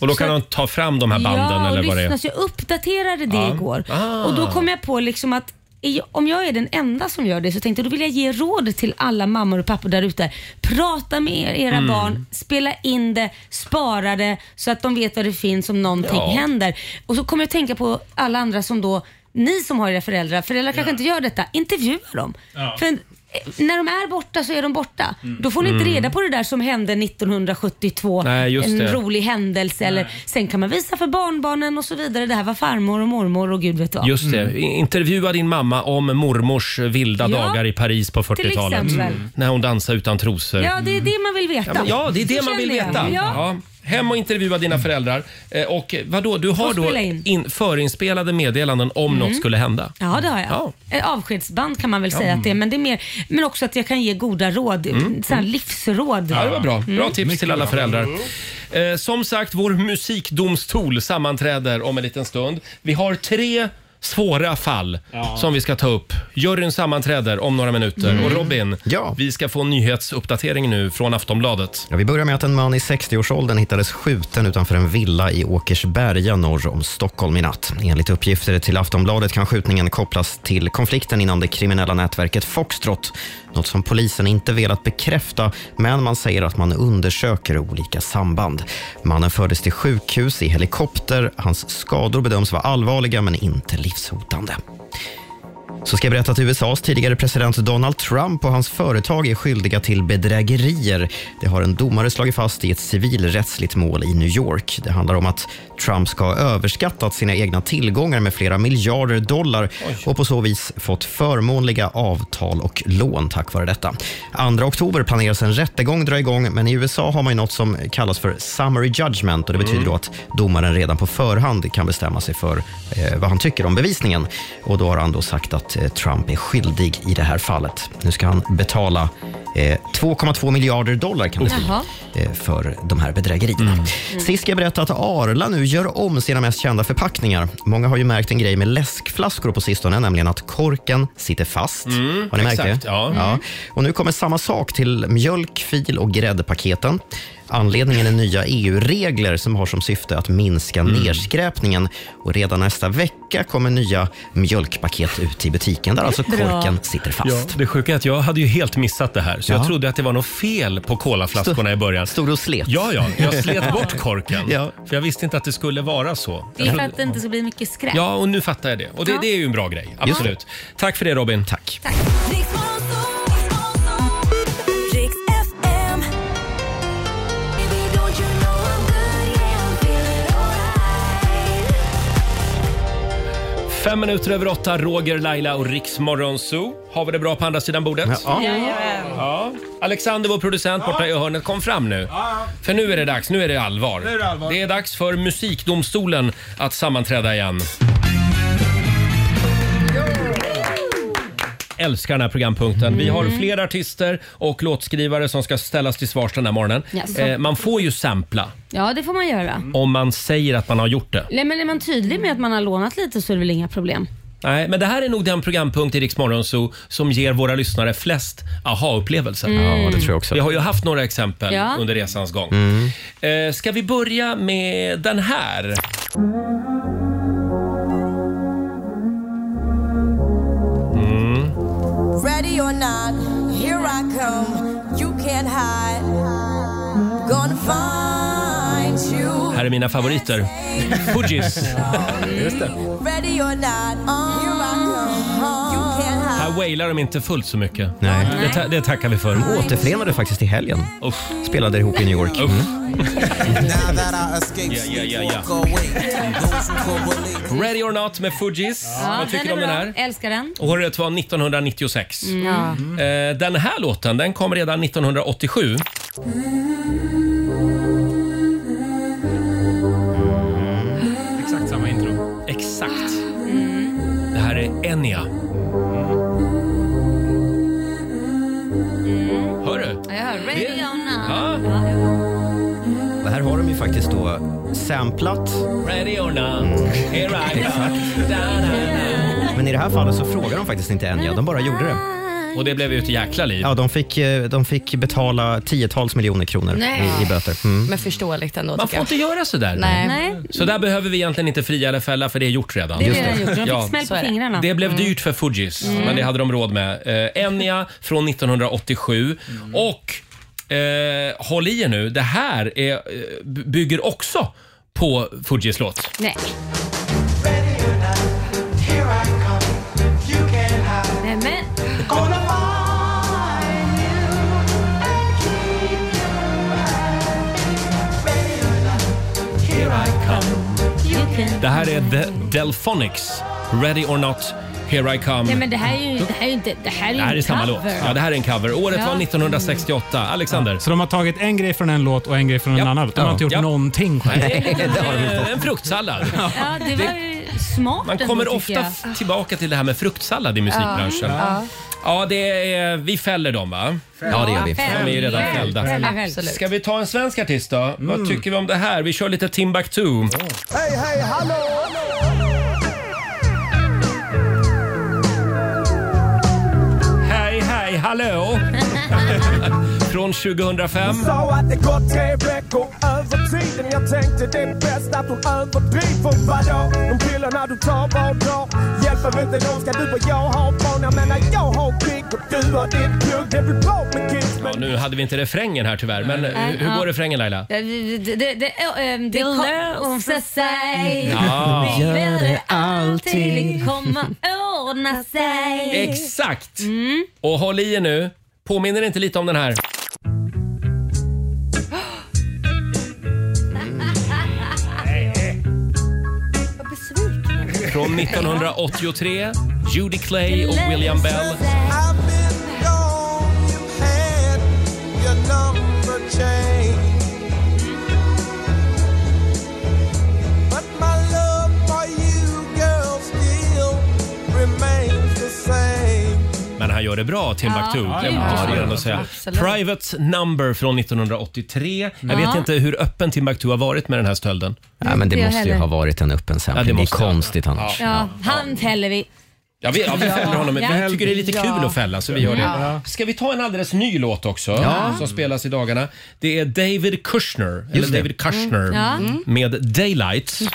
Och då kan de ta fram de här banden ja, och eller vad det lyssna, är. så jag uppdaterade det Ja. igår. Ah. Och då kom jag på liksom att i- om jag är den enda som gör det så tänkte jag då vill jag ge råd till alla mammor och pappor där ute. Prata med er, era Mm. barn, spela in det, spara det så att de vet vad det finns om någonting Ja. händer. Och så kommer jag tänka på alla andra som då, ni som har era föräldrar, föräldrar kanske inte gör detta, intervjua dem. Ja. För eh, när de är borta så är de borta. Mm. Då får ni inte Mm. reda på det där som hände 1972, Nej, just en det. rolig händelse. Eller, sen kan man visa för barnbarnen och så vidare. Det här var farmor och mormor och gud vet vad. Just det, I- intervjua din mamma om mormors vilda Mm. Ja, dagar i Paris på 40-talet. exempel. Mm. När hon dansade utan trosor. Ja, det är det man vill veta. Ja, men, ja, det är Så det man vill känner jag. veta. Ja. Ja. Hem och intervjua dina föräldrar. Eh, Och vadå, du har Och då spela in. in, förinspelade meddelanden om Mm. något skulle hända. Ja, det har jag. Ja. Eh, Avskedsband kan man väl Ja. säga att det är, men det är mer, men också att jag kan ge goda råd, Mm. så här livsråd. Ja, det var bra. Bra Mm. tips till alla föräldrar. Eh, som sagt, vår musikdomstol sammanträder om en liten stund. Vi har tre svåra fall Ja. som vi ska ta upp. Juryn sammanträder om några minuter. Mm. Och Robin, vi ska få en nyhetsuppdatering nu från Aftonbladet. Ja, vi börjar med att en man i 60-årsåldern hittades skjuten utanför en villa i Åkersberga norr om Stockholm i natt. Enligt uppgifter till Aftonbladet kan skjutningen kopplas till konflikten inom det kriminella nätverket Foxtrot. Något som polisen inte velat bekräfta, men man säger att man undersöker olika samband. Mannen fördes till sjukhus i helikopter. Hans skador bedöms vara allvarliga, men inte livshotande. Så ska jag berätta att USAs tidigare president Donald Trump och hans företag är skyldiga till bedrägerier. Det har en domare slagit fast i ett civilrättsligt mål i New York. Det handlar om att Trump ska ha överskattat sina egna tillgångar med flera miljarder dollar och på så vis fått förmånliga avtal och lån tack vare detta. 2 oktober planeras en rättegång dra igång, men i USA har man ju något som kallas för summary judgment och det betyder Mm. då att domaren redan på förhand kan bestämma sig för eh, vad han tycker om bevisningen. Och då har han då sagt att eh, Trump är skyldig i det här fallet. Nu ska han betala eh, 2,2 miljarder dollar kan det bli Jaha. eh, för de här bedrägerierna. Mm. Sist ska jag berätta att Arla nu gör om sina mest kända förpackningar. Många har ju märkt en grej med läskflaskor på sistone, nämligen att korken sitter fast. Mm, har ni märkt exakt, det? ja. Mm. Och nu kommer samma sak till mjölk, fil och gräddpaketen. Anledningen är nya EU-regler som har som syfte att minska Mm. nedskräpningen. Och redan nästa vecka kommer nya mjölkpaket ut i butiken där alltså Bra. korken sitter fast. Ja, det sjuka är att jag hade ju helt missat det här, så Ja. jag trodde att det var något fel på colaflaskorna i början. Stod och slet? Ja, ja. Jag (laughs) slet bort korken. Ja. För jag visste inte att det skulle vara så. Det är för att det inte ska bli mycket skräp. Ja, och nu fattar jag det. Och det, Ja. det är ju en bra grej. Absolut. Tack för det Robin. Tack. Fem minuter över åtta, Roger, Laila och Riks Morgonzoo. Har vi det bra på andra sidan bordet? Ja. Jajamän. Ja. Alexander, vår producent borta i hörnet, kom fram nu. För nu är det dags, nu är det allvar. Nu är det allvar. är dags för Musikdomstolen att sammanträda igen. Älskar den här programpunkten. Vi har Mm. fler artister och låtskrivare som ska ställas till svars den här morgonen. Jaså. Eh, man får ju sampla Ja, det får man göra. om man säger att man har gjort det. Mm. Nej, men är man tydlig med att man har lånat lite så är det väl inga problem. Nej, men det här är nog den programpunkt i Rix Morgonzoo som ger våra lyssnare flest aha-upplevelser. Mm. Ja, det tror jag också. Vi har ju haft några exempel Ja. Mm. under resans gång. Eh, ska vi börja med den här? Mm. Ready or not, here I come. You can't hide. Gonna find you. Här är mina favoriter. Fugees. Just det. Ready or not, here I come. You can't hide. Här wailar de inte fullt så mycket. Nej. Det, ta- det tackar vi för. De återförenade faktiskt i helgen. Spelade ihop i New York. Now that I escaped, Yeah, yeah, yeah, yeah. walk away. Those who could believe. Ready or not med Fugees. Vad tycker du om är den bra. här? Älskar den. Året var 1996. Mm. Ja. Mm. Eh, Den här låten den kom redan 1987. Exakt samma intro. Exakt. Det här är Enya. Hör du? Ja, jag hör. Det- Ready or not. Ja. Det här har de ju faktiskt då samplat. Ready or not, here I come. Da, da, da. Men i det här fallet så frågade de faktiskt inte Enya, de bara gjorde det. Och det blev ju ett jäkla liv. Ja, de fick, eh, de fick betala tiotals miljoner kronor Nej. i, i böter. Mm. Men förståeligt ändå. Man tycker får jag. inte göra sådär. Nej. Nej. Så där behöver vi egentligen inte fria eller fälla för det är gjort redan. Det är redan gjort. De fick smäll Så på är det. fingrarna. Det blev dyrt för Fugees, Mm. men det hade de råd med. Eh, Enya från 1987. Och eh, håll i er nu, det här är, eh, b- bygger också på Fugees låt. Nej. Here I come. You can't hide. Nej, men. Gonna find you and keep you right. Here I Det här är The Delphonics, Ready or Not, Here I Come. Nej, men det här är ju det här är ju inte... Det här är, ju det här en är samma cover. låt. Ja, det här är en cover. Året Ja. var 1968. Alexander? Så (laughs) de har tagit en grej från en låt och en grej från en annan. De har Ja. inte gjort Ja. någonting själv. Nej, En fruktsallad. Ja, det var ju smart Man ändå, kommer tycker ofta jag. f- tillbaka till det här med fruktsallad i musikbranschen. Ja. Ja, det är, vi fäller dem va? Ja det gör vi. De är ju redan Fäll. fällda. Fäll, fäll. Absolut. Ska vi ta en svensk artist då? Vad tycker vi om det här? Vi kör lite Timbuktu. Hej, hej, hallå! hallå! Från 2005. Så att det gått tre veckor över tiden Jag tänkte det är bäst att hon överdriver Vadå? De killarna du tar var dag Hjälper inte dem ska du och jag ha barn Jag menar jag har krig och du har ditt plugg Det blir bra med kids Ja, nu hade vi inte refrängen här tyvärr, men eh, hur, hur går refrängen Laila? Det, det, det, det, ehm, det löser sig. Ja. Vi gör det alltid. Det kommer ordna sig. Exakt! Mm. Och håll i er nu. Påminner inte lite om (gasps) den här? Vad besviken. Från 1983. Judy Clay och William Bell. I've been gone, you had your number changed. But my love for you, girl, still remains the same. Men han gör det bra, Timbuktu. Ja, det ja, måste man ja, ändå säga. absolut. Private Number från 1983. Jag Ja. vet inte hur öppen Timbuktu har varit med den här stölden. Ja, men det Jag måste ju heller. ha varit en öppen sampling. det, är måste det. konstigt annars. Ja, han fäller vi. Ja, vi, ja, vi fäller honom. men Ja. Vi tycker det är lite Ja. kul att fälla, så vi gör det. Ja. Ska vi ta en alldeles ny låt också, Ja. som spelas i dagarna? Det är David Kushner, eller Just det. David Kushner, Mm. Ja. Mm. med Daylight. Mm.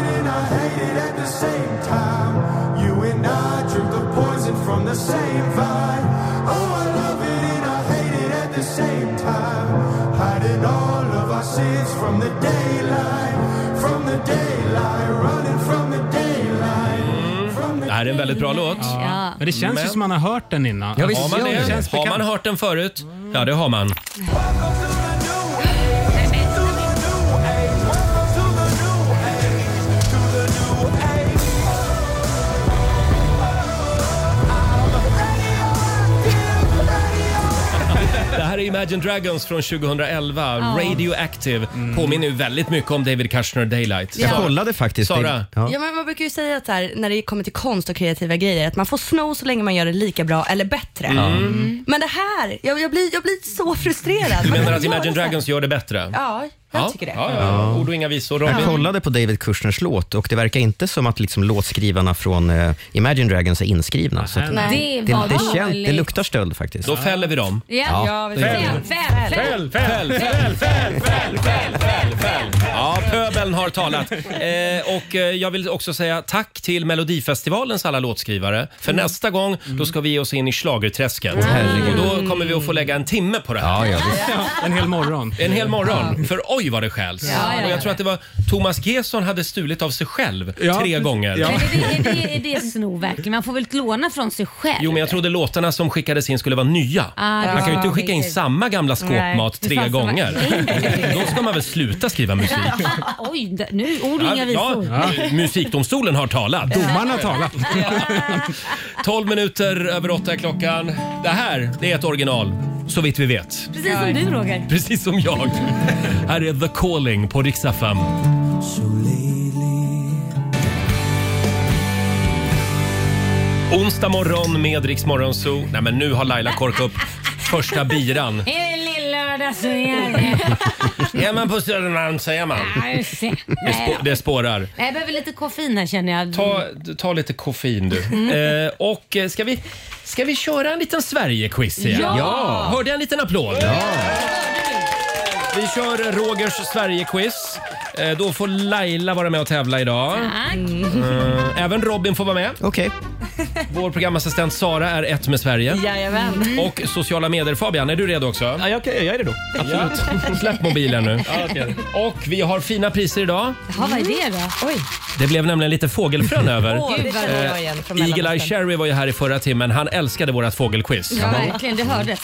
at the same time. You and I drink the poison from the same vine. Oh, I love it and I hate it at the same time. Hiding all of our sins from the daylight, from the daylight, running from the daylight. Det här är en väldigt bra låt. Ja. Men det känns ju som man har hört den innan. Ja, visst, har man, Ja, det? känns har bekant. man hört den förut? Ja, det har man. (laughs) Det här är Imagine Dragons från 2011, Ja. Radioactive. Påminner ju väldigt mycket om David Kushner Daylight. Jag Sara- kollade faktiskt. Sara? Ja. men man brukar ju säga att så här, när det kommer till konst och kreativa grejer, att man får sno så länge man gör det lika bra eller bättre. Mm. Men det här, jag, jag, blir, jag blir så frustrerad. Du Man menar kan att göra Imagine så här. Dragons gör det bättre? Ja, jag tycker det. Ja, ja, ja. Ord och inga visor. Robin? Jag kollade på David Kushners låt och det verkar inte som att liksom låtskrivarna från eh, Imagine Dragons är inskrivna. Så att, Nej. Det det, var det, känns, dåligt. det luktar stöld faktiskt. Då fäller vi dem. Ja, Ja, vi det gör fäll, vi. Fäll, fäll, fäll, fäll, fäll, fäll, fäll, fäll, fäll, fäll. Ja, pöbeln har talat. Eh, och eh, jag vill också säga tack till Melodifestivalens alla låtskrivare. För Mm. nästa gång då ska vi ge oss in i schlagerträsket. Och då kommer vi att få lägga en timme på det här. En hel morgon. En hel morgon, för oj vad det stjäls. Ja, ja, Och jag ja. tror att det var Thomas Gesson hade stulit av sig själv Ja, tre precis. gånger. Ja. Men Är det, är det, är det snor verkligen? Man får väl låna från sig själv? Jo, men jag trodde låtarna som skickades in skulle vara nya. Ah, det man kan ju var inte skicka in riktigt. samma gamla skåpmat Nej, tre fast det var gånger. Då ska man väl sluta skriva musik. Oj, d- nu ord och inga visor. ja, musikdomstolen har talat. Domaren har talat. 12 minuter över åtta är klockan. Det här, det är ett original, så vitt vi vet. Precis som du Roger. Precis som jag. Här är The Calling på Rix FM. Onsdag morgon med Rix Morgon Zoo. Nej men nu har Laila korkat upp första (laughs) biran. Är det lill-lördag så är det. Är man på Södermalm så är man. (laughs) Ja, just det. Det, spå- det spårar. Nej, Jag behöver lite koffein här känner jag. Ta, ta lite koffein du. Mm. Eh, och eh, ska vi, ska vi köra en liten Sverige-quiz igen? Ja! Ja. Hörde jag en liten applåd? Ja. Vi kör Rogers Sverige-quiz. Eh, då får Laila vara med och tävla idag. Tack. Eh, även Robin får vara med. Okej. Vår programassistent Sara är ett med Sverige. Jajamän. Och sociala medier. Fabian, är du redo också? Ja, jag, är redo. Absolut. Släpp mobilen nu. Och vi har fina priser idag. Jaha, vad är det Mm. då? Oj. Det blev nämligen lite (laughs) fågelfrön över. Åh, det känner jag Eh, igen från Eagle Eye Mellanöstern. Cherry var ju här i förra timmen. Han älskade vårat fågelquiz. Ja, verkligen. Det hördes.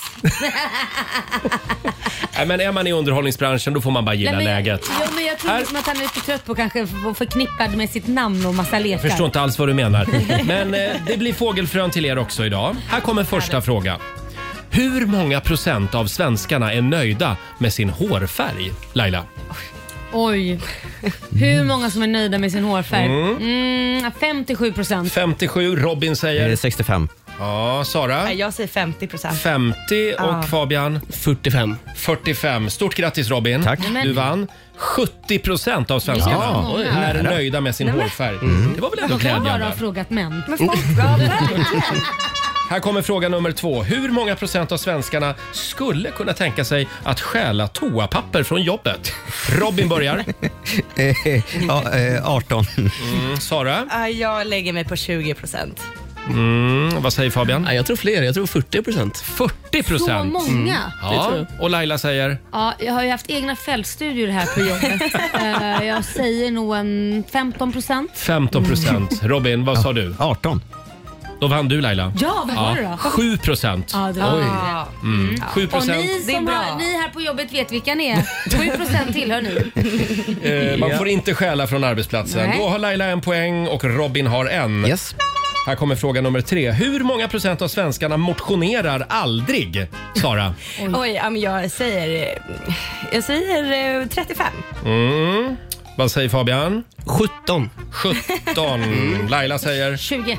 Nej, men är man i underhållningsbranschen då får man bara gilla Nej, men, läget. Jo, men jag tror Här- liksom att han är lite trött på kanske att vara förknippad med sitt namn och massa lekar. Jag förstår inte alls vad du (laughs) menar. Men eh, det blir fågelfrön till er också idag. Här kommer första fråga. Hur många procent av svenskarna är nöjda med sin hårfärg? Laila? Oj. Hur många som är nöjda med sin hårfärg? Mm. Mm, 57 procent. 57, Robin Eh, säger? 65. Ja, Sara? Nej, Jag säger 50 procent. 50 och Ja. Fabian? 45. 45. Stort grattis Robin. Tack. Du vann. 70 procent av svenskarna Ja. Oj, är nära. nöjda med sin Nej, men- hårfärg. Det var väl De ändå kan bara glädjande? ha frågat män. Men folk, ja, verkligen. Här kommer fråga nummer två. Hur många procent av svenskarna skulle kunna tänka sig att stjäla toapapper från jobbet? Robin börjar. Eh, ja, (laughs) 18. Mm, Sara? Ah, jag lägger mig på 20 procent. Mm, vad säger Fabian? jag tror fler. Jag tror 40 procent. 40 procent? Mm. Så många? Det tror Ja, och Laila säger? Ja, jag har ju haft egna fältstudier här på (laughs) jobbet. Eh, jag säger nog en 15 procent. 15 procent. Mm. Robin, vad sa du? 18. Då vann du Laila. Ja, vad var det då? 7 procent. Ja, det var det. Mm. 7 Och procent. ni, som har, ni här på jobbet vet vilka ni (laughs) är. 7 procent tillhör ni. Eh, man får inte stjäla från arbetsplatsen. Nej. Då har Laila en poäng och Robin har en. Yes. Här kommer fråga nummer tre. Hur många procent av svenskarna motionerar aldrig? (laughs) Sara? Oj, ja, men jag säger, eh, jag säger eh, 35. Mm. Vad säger Fabian? 17. 17. Laila säger? 20.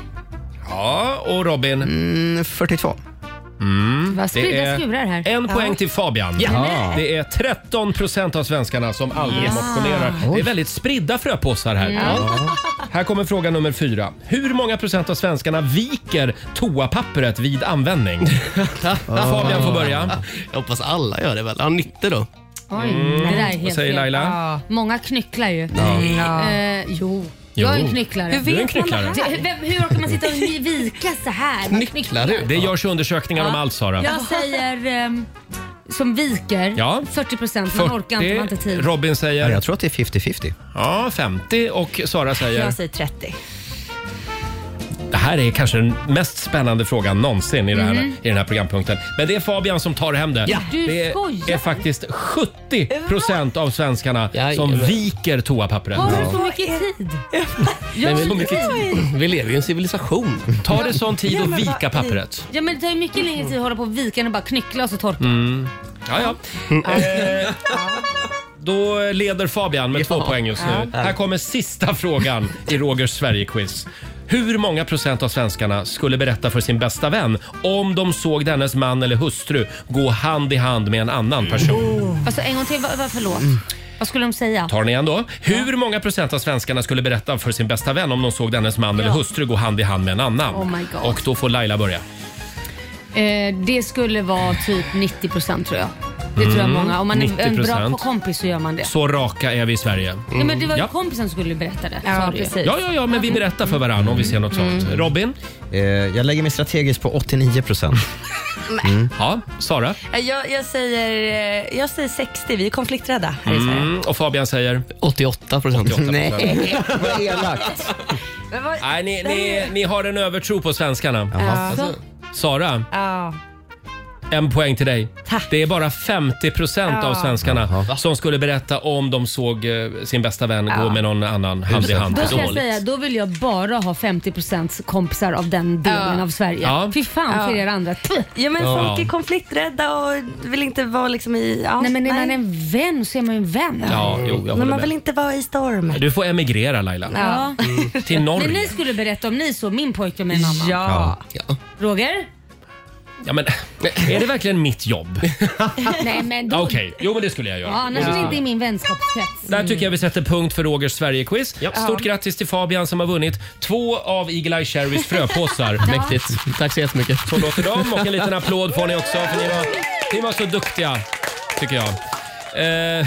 Ja, och Robin? 42. Mm. Vad Det spridda skurar är här. en Ja. poäng till Fabian. Ja. Det är 13 procent av svenskarna som aldrig Yes. motionerar. Det är väldigt spridda fröpåsar här. Ja. Här kommer fråga nummer fyra. Hur många procent av svenskarna viker toapappret vid användning? Ah. Fabian får börja. Jag hoppas alla gör det väl. Ja, 90 då. Oj, Mm. det där är Vad helt säger fel. Ah. Laila? Ja. Många knycklar ju. Ja. Ja. Eh, jo. Jag är Jo. en knycklare. Hur vet Du är en man knycklare. det här? Hur, vem- hur orkar man sitta och vika så här? Man knycklar. Det görs undersökningar om allt Sara. Jag säger ehm, som viker, Ja. 40 procent. Man orkar inte, man har inte tid. Robin säger... Jag tror att det är 50-50. Ja, 50 och Sara säger... säger 30. Det här är kanske den mest spännande frågan någonsin i, det här, Mhm. i den här programpunkten. Men det är Fabian som tar hem det. Ja. Du det skojar. är faktiskt 70 procent av svenskarna som viker toapappret. Har du så mycket tid? Nej, Jag men- har mycket tid. vi lever ju i en civilisation. Tar det sån tid Ja, att men vika vad i- pappret? Ja, men det tar ju mycket längre tid att hålla på och vika än att bara knyckla och så torka. Mm. Ja, ja. Eh, Då leder Fabian med två poäng just nu. Ja. Här kommer sista frågan i Rogers Sverige-quiz. Hur många procent av svenskarna skulle berätta för sin bästa vän om de såg dennes man eller hustru gå hand i hand med en annan person? Alltså en gång till, vad, vad, förlåt. Vad skulle de säga? Tar ni igen då? Hur många procent av svenskarna skulle berätta för sin bästa vän om de såg dennes man eller Ja. hustru gå hand i hand med en annan? Oh my God. Och då får Laila börja. Eh, det skulle vara typ 90 procent tror jag. Det tror jag Mm, många. Om man är en 90%. bra på kompis så gör man det. Så raka är vi i Sverige. Ja, men det var ju Ja. kompisen som skulle berätta det. Ja, sa du ju. Ja, ja, ja, men vi berättar för varandra om vi ser något sånt. Mm. Robin? jag lägger mig strategiskt på 89 (laughs) procent. Ja, Sara? Eh, Jag, jag, säger, eh, jag säger 60, vi är konflikträdda här i Sverige. Mm, och Fabian säger? 88 procent. (laughs) Nej. Vad elakt. Nej, ni, ni, ni har en övertro på svenskarna. Jaha. Alltså, Sara, Ja. en poäng till dig. Det är bara 50 procent av Ja. svenskarna som skulle berätta om de såg eh, sin bästa vän gå med någon annan hand i hand. Då, kan jag säga, då vill jag bara ha 50% kompisar av den delen av Sverige. Ja. Fy fan för Ja. er andra. Ja, men Ja. folk är konflikträdda och vill inte vara liksom i... Ja, Nej men när man är en vän så är man ju en vän. Ja, jo, jag håller men man med. vill inte vara i storm. Du får emigrera Laila. Ja. Mm. Till Norge. Men ni skulle berätta om ni såg min pojkvän med en annan. Ja. Roger? Ja, men, (laughs) är det verkligen mitt (laughs) jobb? Nej men då... Okej, jo men det skulle jag göra. Ja, annars Det är skulle det jag inte i göra. min vänskapskrets. Där tycker jag vi sätter punkt för Rogers Sverige-quiz. Stort Ja. grattis till Fabian som har vunnit två av Eagle Eye Cherries (laughs) fröpåsar. Ja. Mäktigt. Tack så jättemycket. Så låter de och en liten applåd får ni också för ni var, ni var så duktiga, tycker jag. Eh,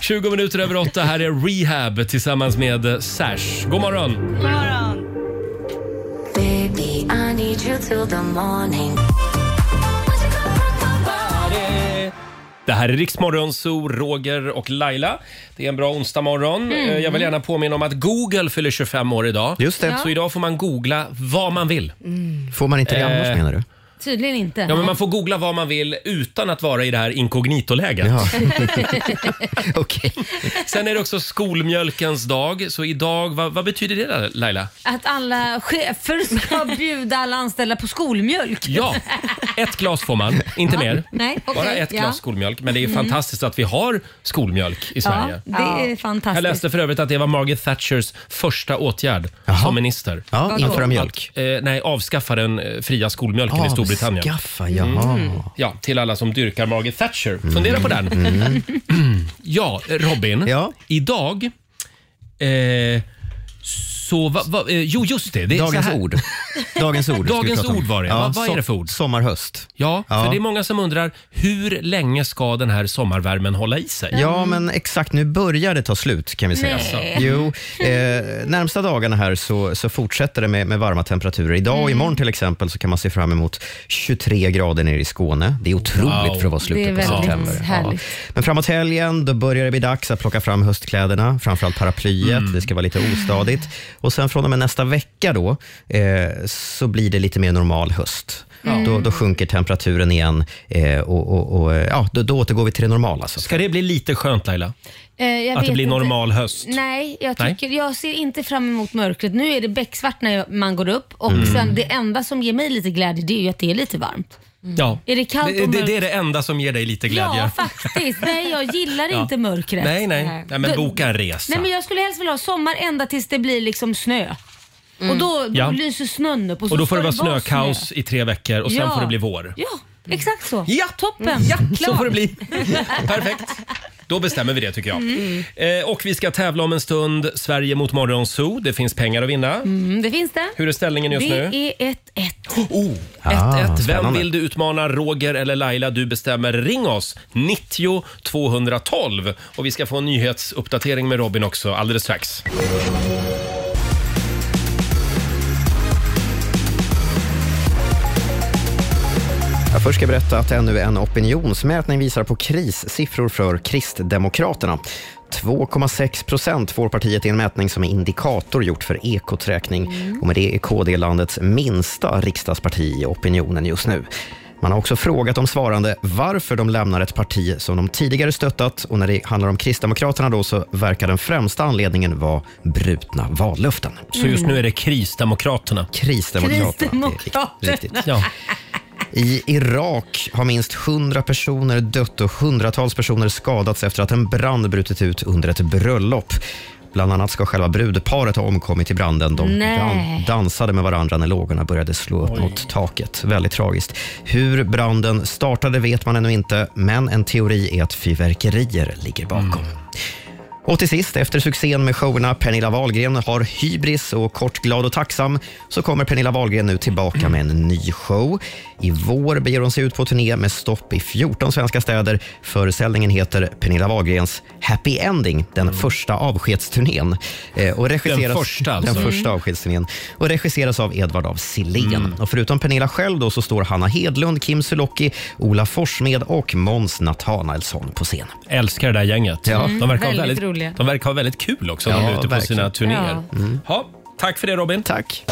(laughs) 20 minuter över åtta. Här är Rehab tillsammans med Sash. God morgon! God morgon. Baby, I need you till the morning. Eh, Det här är Riksmorgon, Zoo, Roger och Laila. Det är en bra onsdag morgon. Mm. Eh, Jag vill gärna påminna om att Google fyller 25 år idag. Just det. Så idag får man googla vad man vill. Får man inte det annars Eh, menar (laughs) du? Tydligen inte. Ja, men man får googla vad man vill utan att vara i det här inkognitoläget. Sen är det också skolmjölkens dag. Så idag, vad, vad betyder det Laila? Att alla chefer ska (laughs) bjuda alla anställda på skolmjölk. Ja, ett glas får man, inte mer. Nej, okej, Bara ett glas ja. skolmjölk. Men det är ju Mm. fantastiskt att vi har skolmjölk i Sverige. Ja, det är fantastiskt. Jag läste för övrigt att det var Margaret Thatchers första åtgärd som minister. Ja, införa Vadå? mjölk. Att, eh, nej, avskaffa den eh, fria skolmjölken i Storbritannien. Avskaffa, jaha. Mm. Ja, till alla som dyrkar Margaret Thatcher. Mm. Fundera på den. (clears throat) Ja, Robin. Idag eh, Så va, va, eh, jo, just det. det är Dagens så här- ord. Dagens ord. ska vi Dagens prata om. ord var det. Ja, Vad- vad är det so- för ord? Sommarhöst. Ja, för Ja. det är många som undrar hur länge ska den här sommarvärmen hålla i sig? Ja, Mm. men exakt. Nu börjar det ta slut kan vi säga. Nej. Jo, eh, närmsta dagarna här så, så fortsätter det med, med varma temperaturer. Idag Mm. och imorgon till exempel så kan man se fram emot 23 grader nere i Skåne. Det är otroligt Wow. för att vara Det är slutet på väldigt september. härligt. Men framåt helgen då börjar det bli dags att plocka fram höstkläderna, framförallt paraplyet. Det ska vara lite ostadigt. Och sen från och med nästa vecka då, eh, så blir det lite mer normal höst. Ja. Då, då sjunker temperaturen igen eh, och, och, och eh, ja, då, då återgår vi till det normala. Så. Ska det bli lite skönt Laila? Eh, jag Att det vet blir inte. normal höst. Nej, jag, Nej. tycker, jag ser inte fram emot mörkret. Nu är det becksvart när jag- man går upp och Mm. sen det enda som ger mig lite glädje det är ju att det är lite varmt. Ja. Är det kallt det, och det, mörkt? det är det enda som ger dig lite glädje. Ja, faktiskt. Nej, jag gillar (laughs) Ja. inte mörkret. Nej, nej. nej men Då- boka en resa. Nej, men jag skulle helst vilja ha sommar ända tills det blir liksom snö. Och då, då Mm. Ja. lyser snön upp. Och, så Och då får ska det vara vara snökaos snö. i tre veckor och sen Ja. får det bli vår. Ja, exakt så. Ja. Toppen. Ja, (laughs) så Klart. får det bli. (laughs) Perfekt. Då bestämmer vi det tycker jag. Mm. Eh, och vi ska tävla om en stund. Sverige mot Morgonzoo. Det finns pengar att vinna. Mm, det finns det. Hur är ställningen just det nu? är 1-1. Oh, 1-1. Vem vill du utmana? Roger eller Laila? Du bestämmer. Ring oss! 90 212. Och vi ska få en nyhetsuppdatering med Robin också alldeles strax. Jag först ska jag berätta att ännu en opinionsmätning visar på krissiffror för Kristdemokraterna. 2,6 procent får partiet i en mätning som är indikator gjort för Ekots räkning. Och med det är KD landets minsta riksdagsparti i opinionen just nu. Man har också frågat de svarande varför de lämnar ett parti som de tidigare stöttat. Och när det handlar om Kristdemokraterna då så verkar den främsta anledningen vara brutna vallöften. Så just nu är det Krisdemokraterna? Krisdemokraterna. Det är riktigt. Ja. I Irak har minst 100 personer dött och hundratals personer skadats efter att en brand brutit ut under ett bröllop. Bland annat ska själva brudparet ha omkommit i branden. De Nej. dan- dansade med varandra när lågorna började slå upp mot taket. Väldigt tragiskt. Hur branden startade vet man ännu inte, men en teori är att fyrverkerier ligger bakom. Och till sist, efter succén med showerna Pernilla Wahlgren har hybris och kort glad och tacksam så kommer Pernilla Wahlgren nu tillbaka med en ny show. I vår beger hon sig ut på turné med stopp i 14 svenska städer. Föreställningen heter Pernilla Wahlgrens Happy Ending, den första avskedsturnén. Eh, Och regisseras, första alltså. Den Mm. första avskedsturnén. Och regisseras av Edvard af Sillén. Och förutom Pernilla själv då så står Hanna Hedlund, Kim Sulocki, Ola Forssmed och Måns Nathanaelsson på scen. Älskar det där gänget. Ja. De, verkar Väldigt ha väldigt, roliga. de verkar ha väldigt kul också Ja, när de är ute på verkligen. sina turnéer. Ja. Ha, tack för det Robin. Tack.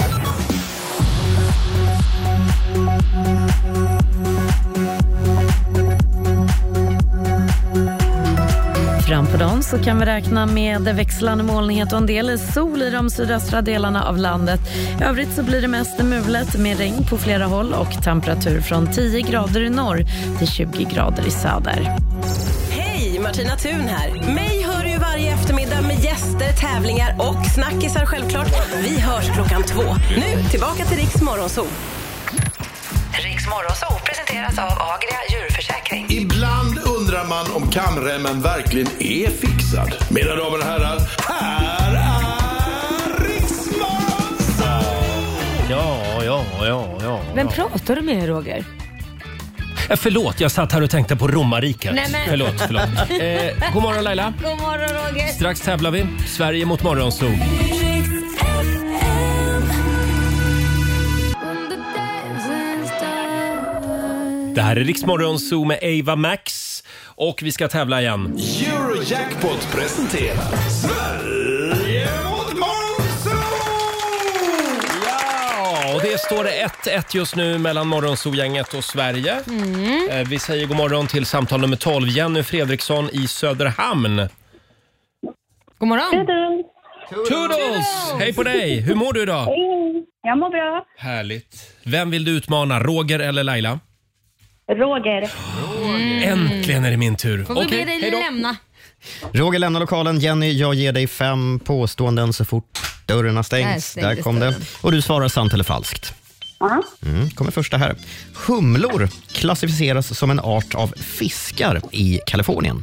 Fram på dagen så kan vi räkna med växlande molnighet och en del sol i de sydöstra delarna av landet. I övrigt så blir det mest mulet med regn på flera håll och temperatur från 10 grader i norr till 20 grader i söder. Hej, Martina Thun här. Mig hör du ju varje eftermiddag med gäster, tävlingar och snackisar självklart. Vi hörs klockan två. Nu tillbaka till Riks Morgonzoo. Riks Morgonzoo presenteras av Agria djurförsäkring. Ibland undrar man om kamremmen verkligen är fixad. Mina damer och herrar, här är Riksmorgon! Ja, ja, ja, ja. Vem pratar du med Roger? Eh, Förlåt, jag satt här och tänkte på romarriket. Nej, men- Förlåt, (laughs) förlåt. Eh, god morgon Laila. God morgon Roger. Strax tävlar vi. Sverige mot Morgonzoo. Det här är Rix Morgonzoo med Ava Max och vi ska tävla igen. Eurojackpot presenterar Sverige mot Monzo! Ja, och det står det 1-1 just nu mellan Morgonzoo-gänget och Sverige. Mm. Eh, Vi säger god morgon till samtal nummer 12, Jenny Fredriksson i Söderhamn. God morgon. Toodles! Hej på dig! Hur mår du idag? Hej. Jag mår bra. Härligt. Vem vill du utmana, Roger eller Laila? Roger. Äntligen är det min tur. Får vi Okej, be dig hej då. lämna? Roger lämnar lokalen. Jenny, jag ger dig fem påståenden så fort dörrarna Där stängs. stängdes Där kom det. dörren. Och du svarar sant eller falskt. Mm, kommer första här. Humlor klassificeras som en art av fiskar i Kalifornien.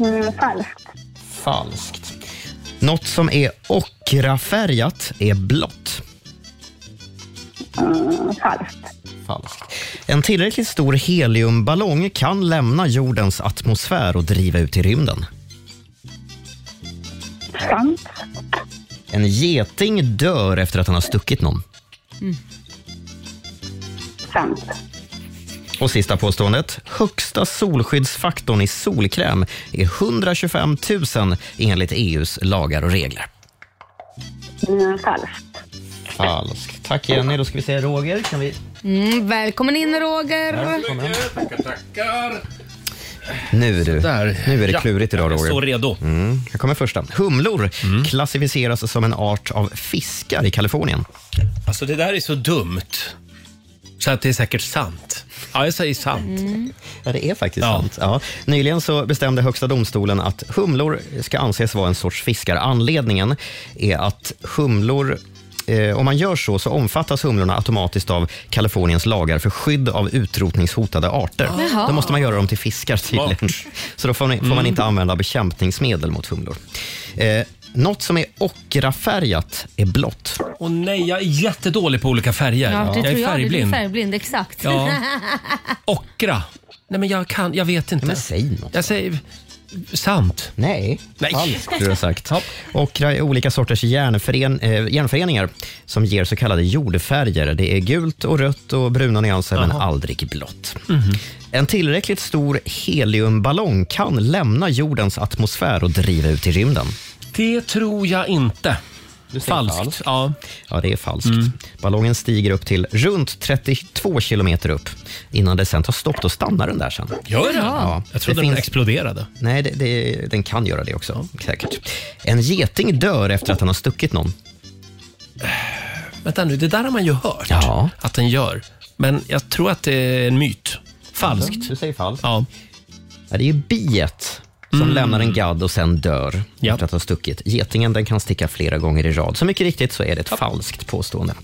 Mm, falskt. Falskt. Något som är ockrafärgat är blått. falskt. Falskt. En tillräckligt stor heliumballong kan lämna jordens atmosfär och driva ut i rymden. Sant. En geting dör efter att han har stuckit någon. Sant. Och sista påståendet. Högsta solskyddsfaktorn i solkräm är 125 000 enligt EUs lagar och regler. Mm, falskt. Falskt. Tack Jenny. Då ska vi se Roger. Kan vi... Mm, välkommen in Roger. Tackar, Nu du. Nu är det Ja, klurigt idag jag är Roger. så redo. Mm. Här kommer första. Humlor klassificeras som en art av fiskar i Kalifornien. Alltså det där är så dumt. Så att det är säkert sant. Ja, jag säger sant. Mm. Ja, det är faktiskt sant. Ja. Nyligen så bestämde Högsta domstolen att humlor ska anses vara en sorts fiskar. Anledningen är att humlor eh, om man gör så, så omfattas humlorna automatiskt av Kaliforniens lagar för skydd av utrotningshotade arter. Jaha. Då måste man göra dem till fiskar tydligen. Så då får, ni, får man Mm. inte använda bekämpningsmedel mot humlor. Eh, något som är ockrafärgat är blått. Och nej, jag är jättedålig på olika färger. Ja, det jag är tror jag. det. Du är färgblind. färgblind, exakt. Ja. Ockra. Nej, men jag kan, jag vet inte. Men säg något. Jag säger sant. Nej, Nej. falskt du har sagt. Ockra är eh, olika sorters järnfören, eh, järnföreningar som ger så kallade jordfärger. Det är gult och rött och bruna nyanser, men Jaha. Mhm. aldrig blått. En tillräckligt stor heliumballong kan lämna jordens atmosfär och driva ut i rymden. Det tror jag inte. Falskt. Ja. ja, det är falskt. Mm. Ballongen stiger upp till runt 32 kilometer upp innan det sen tar stopp. Då stannar den där sen. Gör den? Jag trodde det den exploderade. Nej, det, det, den kan göra det också. Säkert. En geting dör efter att han har stuckit någon. Vänta nu, det där har man ju hört att den gör. Men jag tror att det är en myt. Falskt. Du säger falskt. Ja. Ja, det är ju biet som Mm. lämnar en gadd och sen dör efter att ha stuckit. Getingen den kan sticka flera gånger i rad. Så mycket riktigt så är det ett falskt påstående.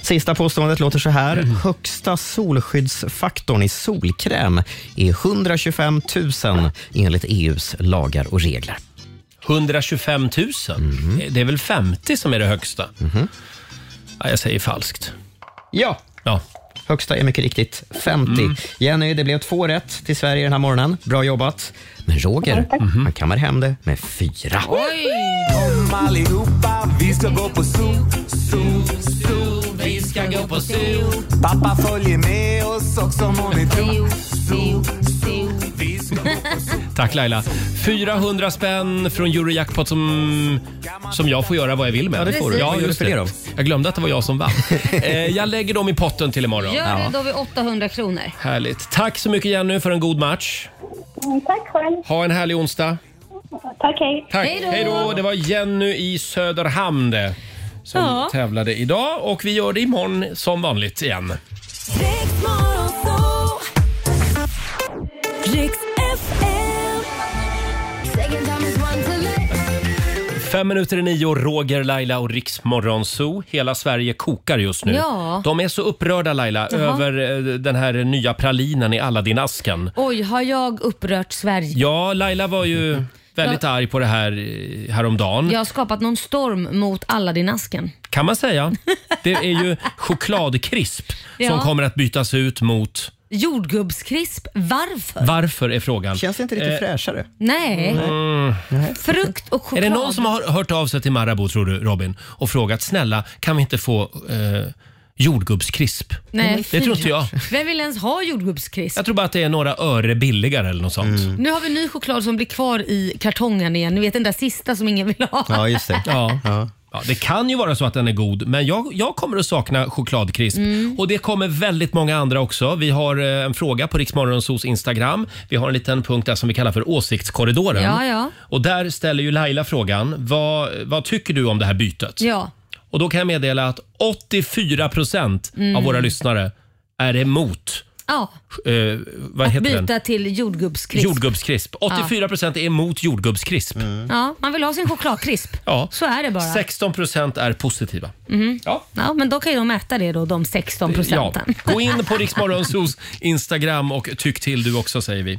Sista påståendet låter så här. Mm. Högsta solskyddsfaktorn i solkräm är 125 000 enligt EUs lagar och regler. 125 000? Det är väl 50 som är det högsta? Ja, jag säger falskt. Ja. ja. Högsta är mycket riktigt 50. Mm. Jenny, det blev två rätt till Sverige den här morgonen. Bra jobbat. Men Roger, Mm-hmm. han kammar hem det med fyra. Kom allihopa, vi ska gå på zoo, zoo, zoo. Vi ska gå på zoo. Pappa följer med oss också må ni tro. Zoo, zoo. Vi ska gå på zoo. Tack Laila. 400 spänn från Eurojackpot som, som jag får göra vad jag vill med. Ja, det får du. Vad Ja, gör du just för det det. Jag glömde att det var jag som vann. Eh, jag lägger dem i potten till imorgon. (laughs) Gör det, då har vi 800 kronor. Härligt. Tack så mycket Jenny för en god match. Mm, Tack själv. Ha en härlig onsdag. Tack, hej. Tack. Hej då. Det var Jenny i Söderhamn det, som Ja. tävlade idag och vi gör det imorgon som vanligt igen. Riks FM. Second time is one to let. Fem minuter i nio, Roger, Laila och Riksmorgonzoo. Hela Sverige kokar just nu. Ja. De är så upprörda Laila Jaha. över eh, den här nya pralinen i Aladdin-asken. Oj, har jag upprört Sverige? Ja, Laila var ju (laughs) väldigt Ja. arg på det här eh, häromdagen. Jag har skapat någon storm mot alla din asken. Kan man säga. (laughs) Det är ju chokladkrisp som Ja. kommer att bytas ut mot... Jordgubbskrisp, varför? Varför är frågan. Känns inte Eh. lite fräschare? Nej. Mm. Frukt och choklad. Är det någon som har hört av sig till Marabou tror du Robin och frågat snälla kan vi inte få eh, jordgubbskrisp? Nej, det fy. tror inte jag. Vem vill ens ha jordgubbskrisp? Jag tror bara att det är några öre billigare eller något sånt. Nu har vi ny choklad som blir kvar i kartongen igen. Ni vet den där sista som ingen vill ha. Ja. Ja, det kan ju vara så att den är god, men jag, jag kommer att sakna chokladkrisp. Mm. Och det kommer väldigt många andra också. Vi har eh, en fråga på Riksmorgonsos Instagram. Vi har en liten punkt där som vi kallar för åsiktskorridoren. Ja, ja. Mm. Och där ställer ju Laila frågan, vad, vad tycker du om det här bytet? Ja. Och då kan jag meddela att 84 procent Mm. av våra lyssnare är emot ja. eh, vad Att heter byta den? till jordgubbskrisp. Jordgubbskrisp. 84 procent är emot jordgubbskrisp. Ja, man vill ha sin chokladkrisp. Ja. Så är det bara. 16 procent är positiva. Mhm. Ja. men då kan ju de äta det då, de 16 procenten. Gå in på Riksmorgonsos Instagram och tyck till du också säger vi.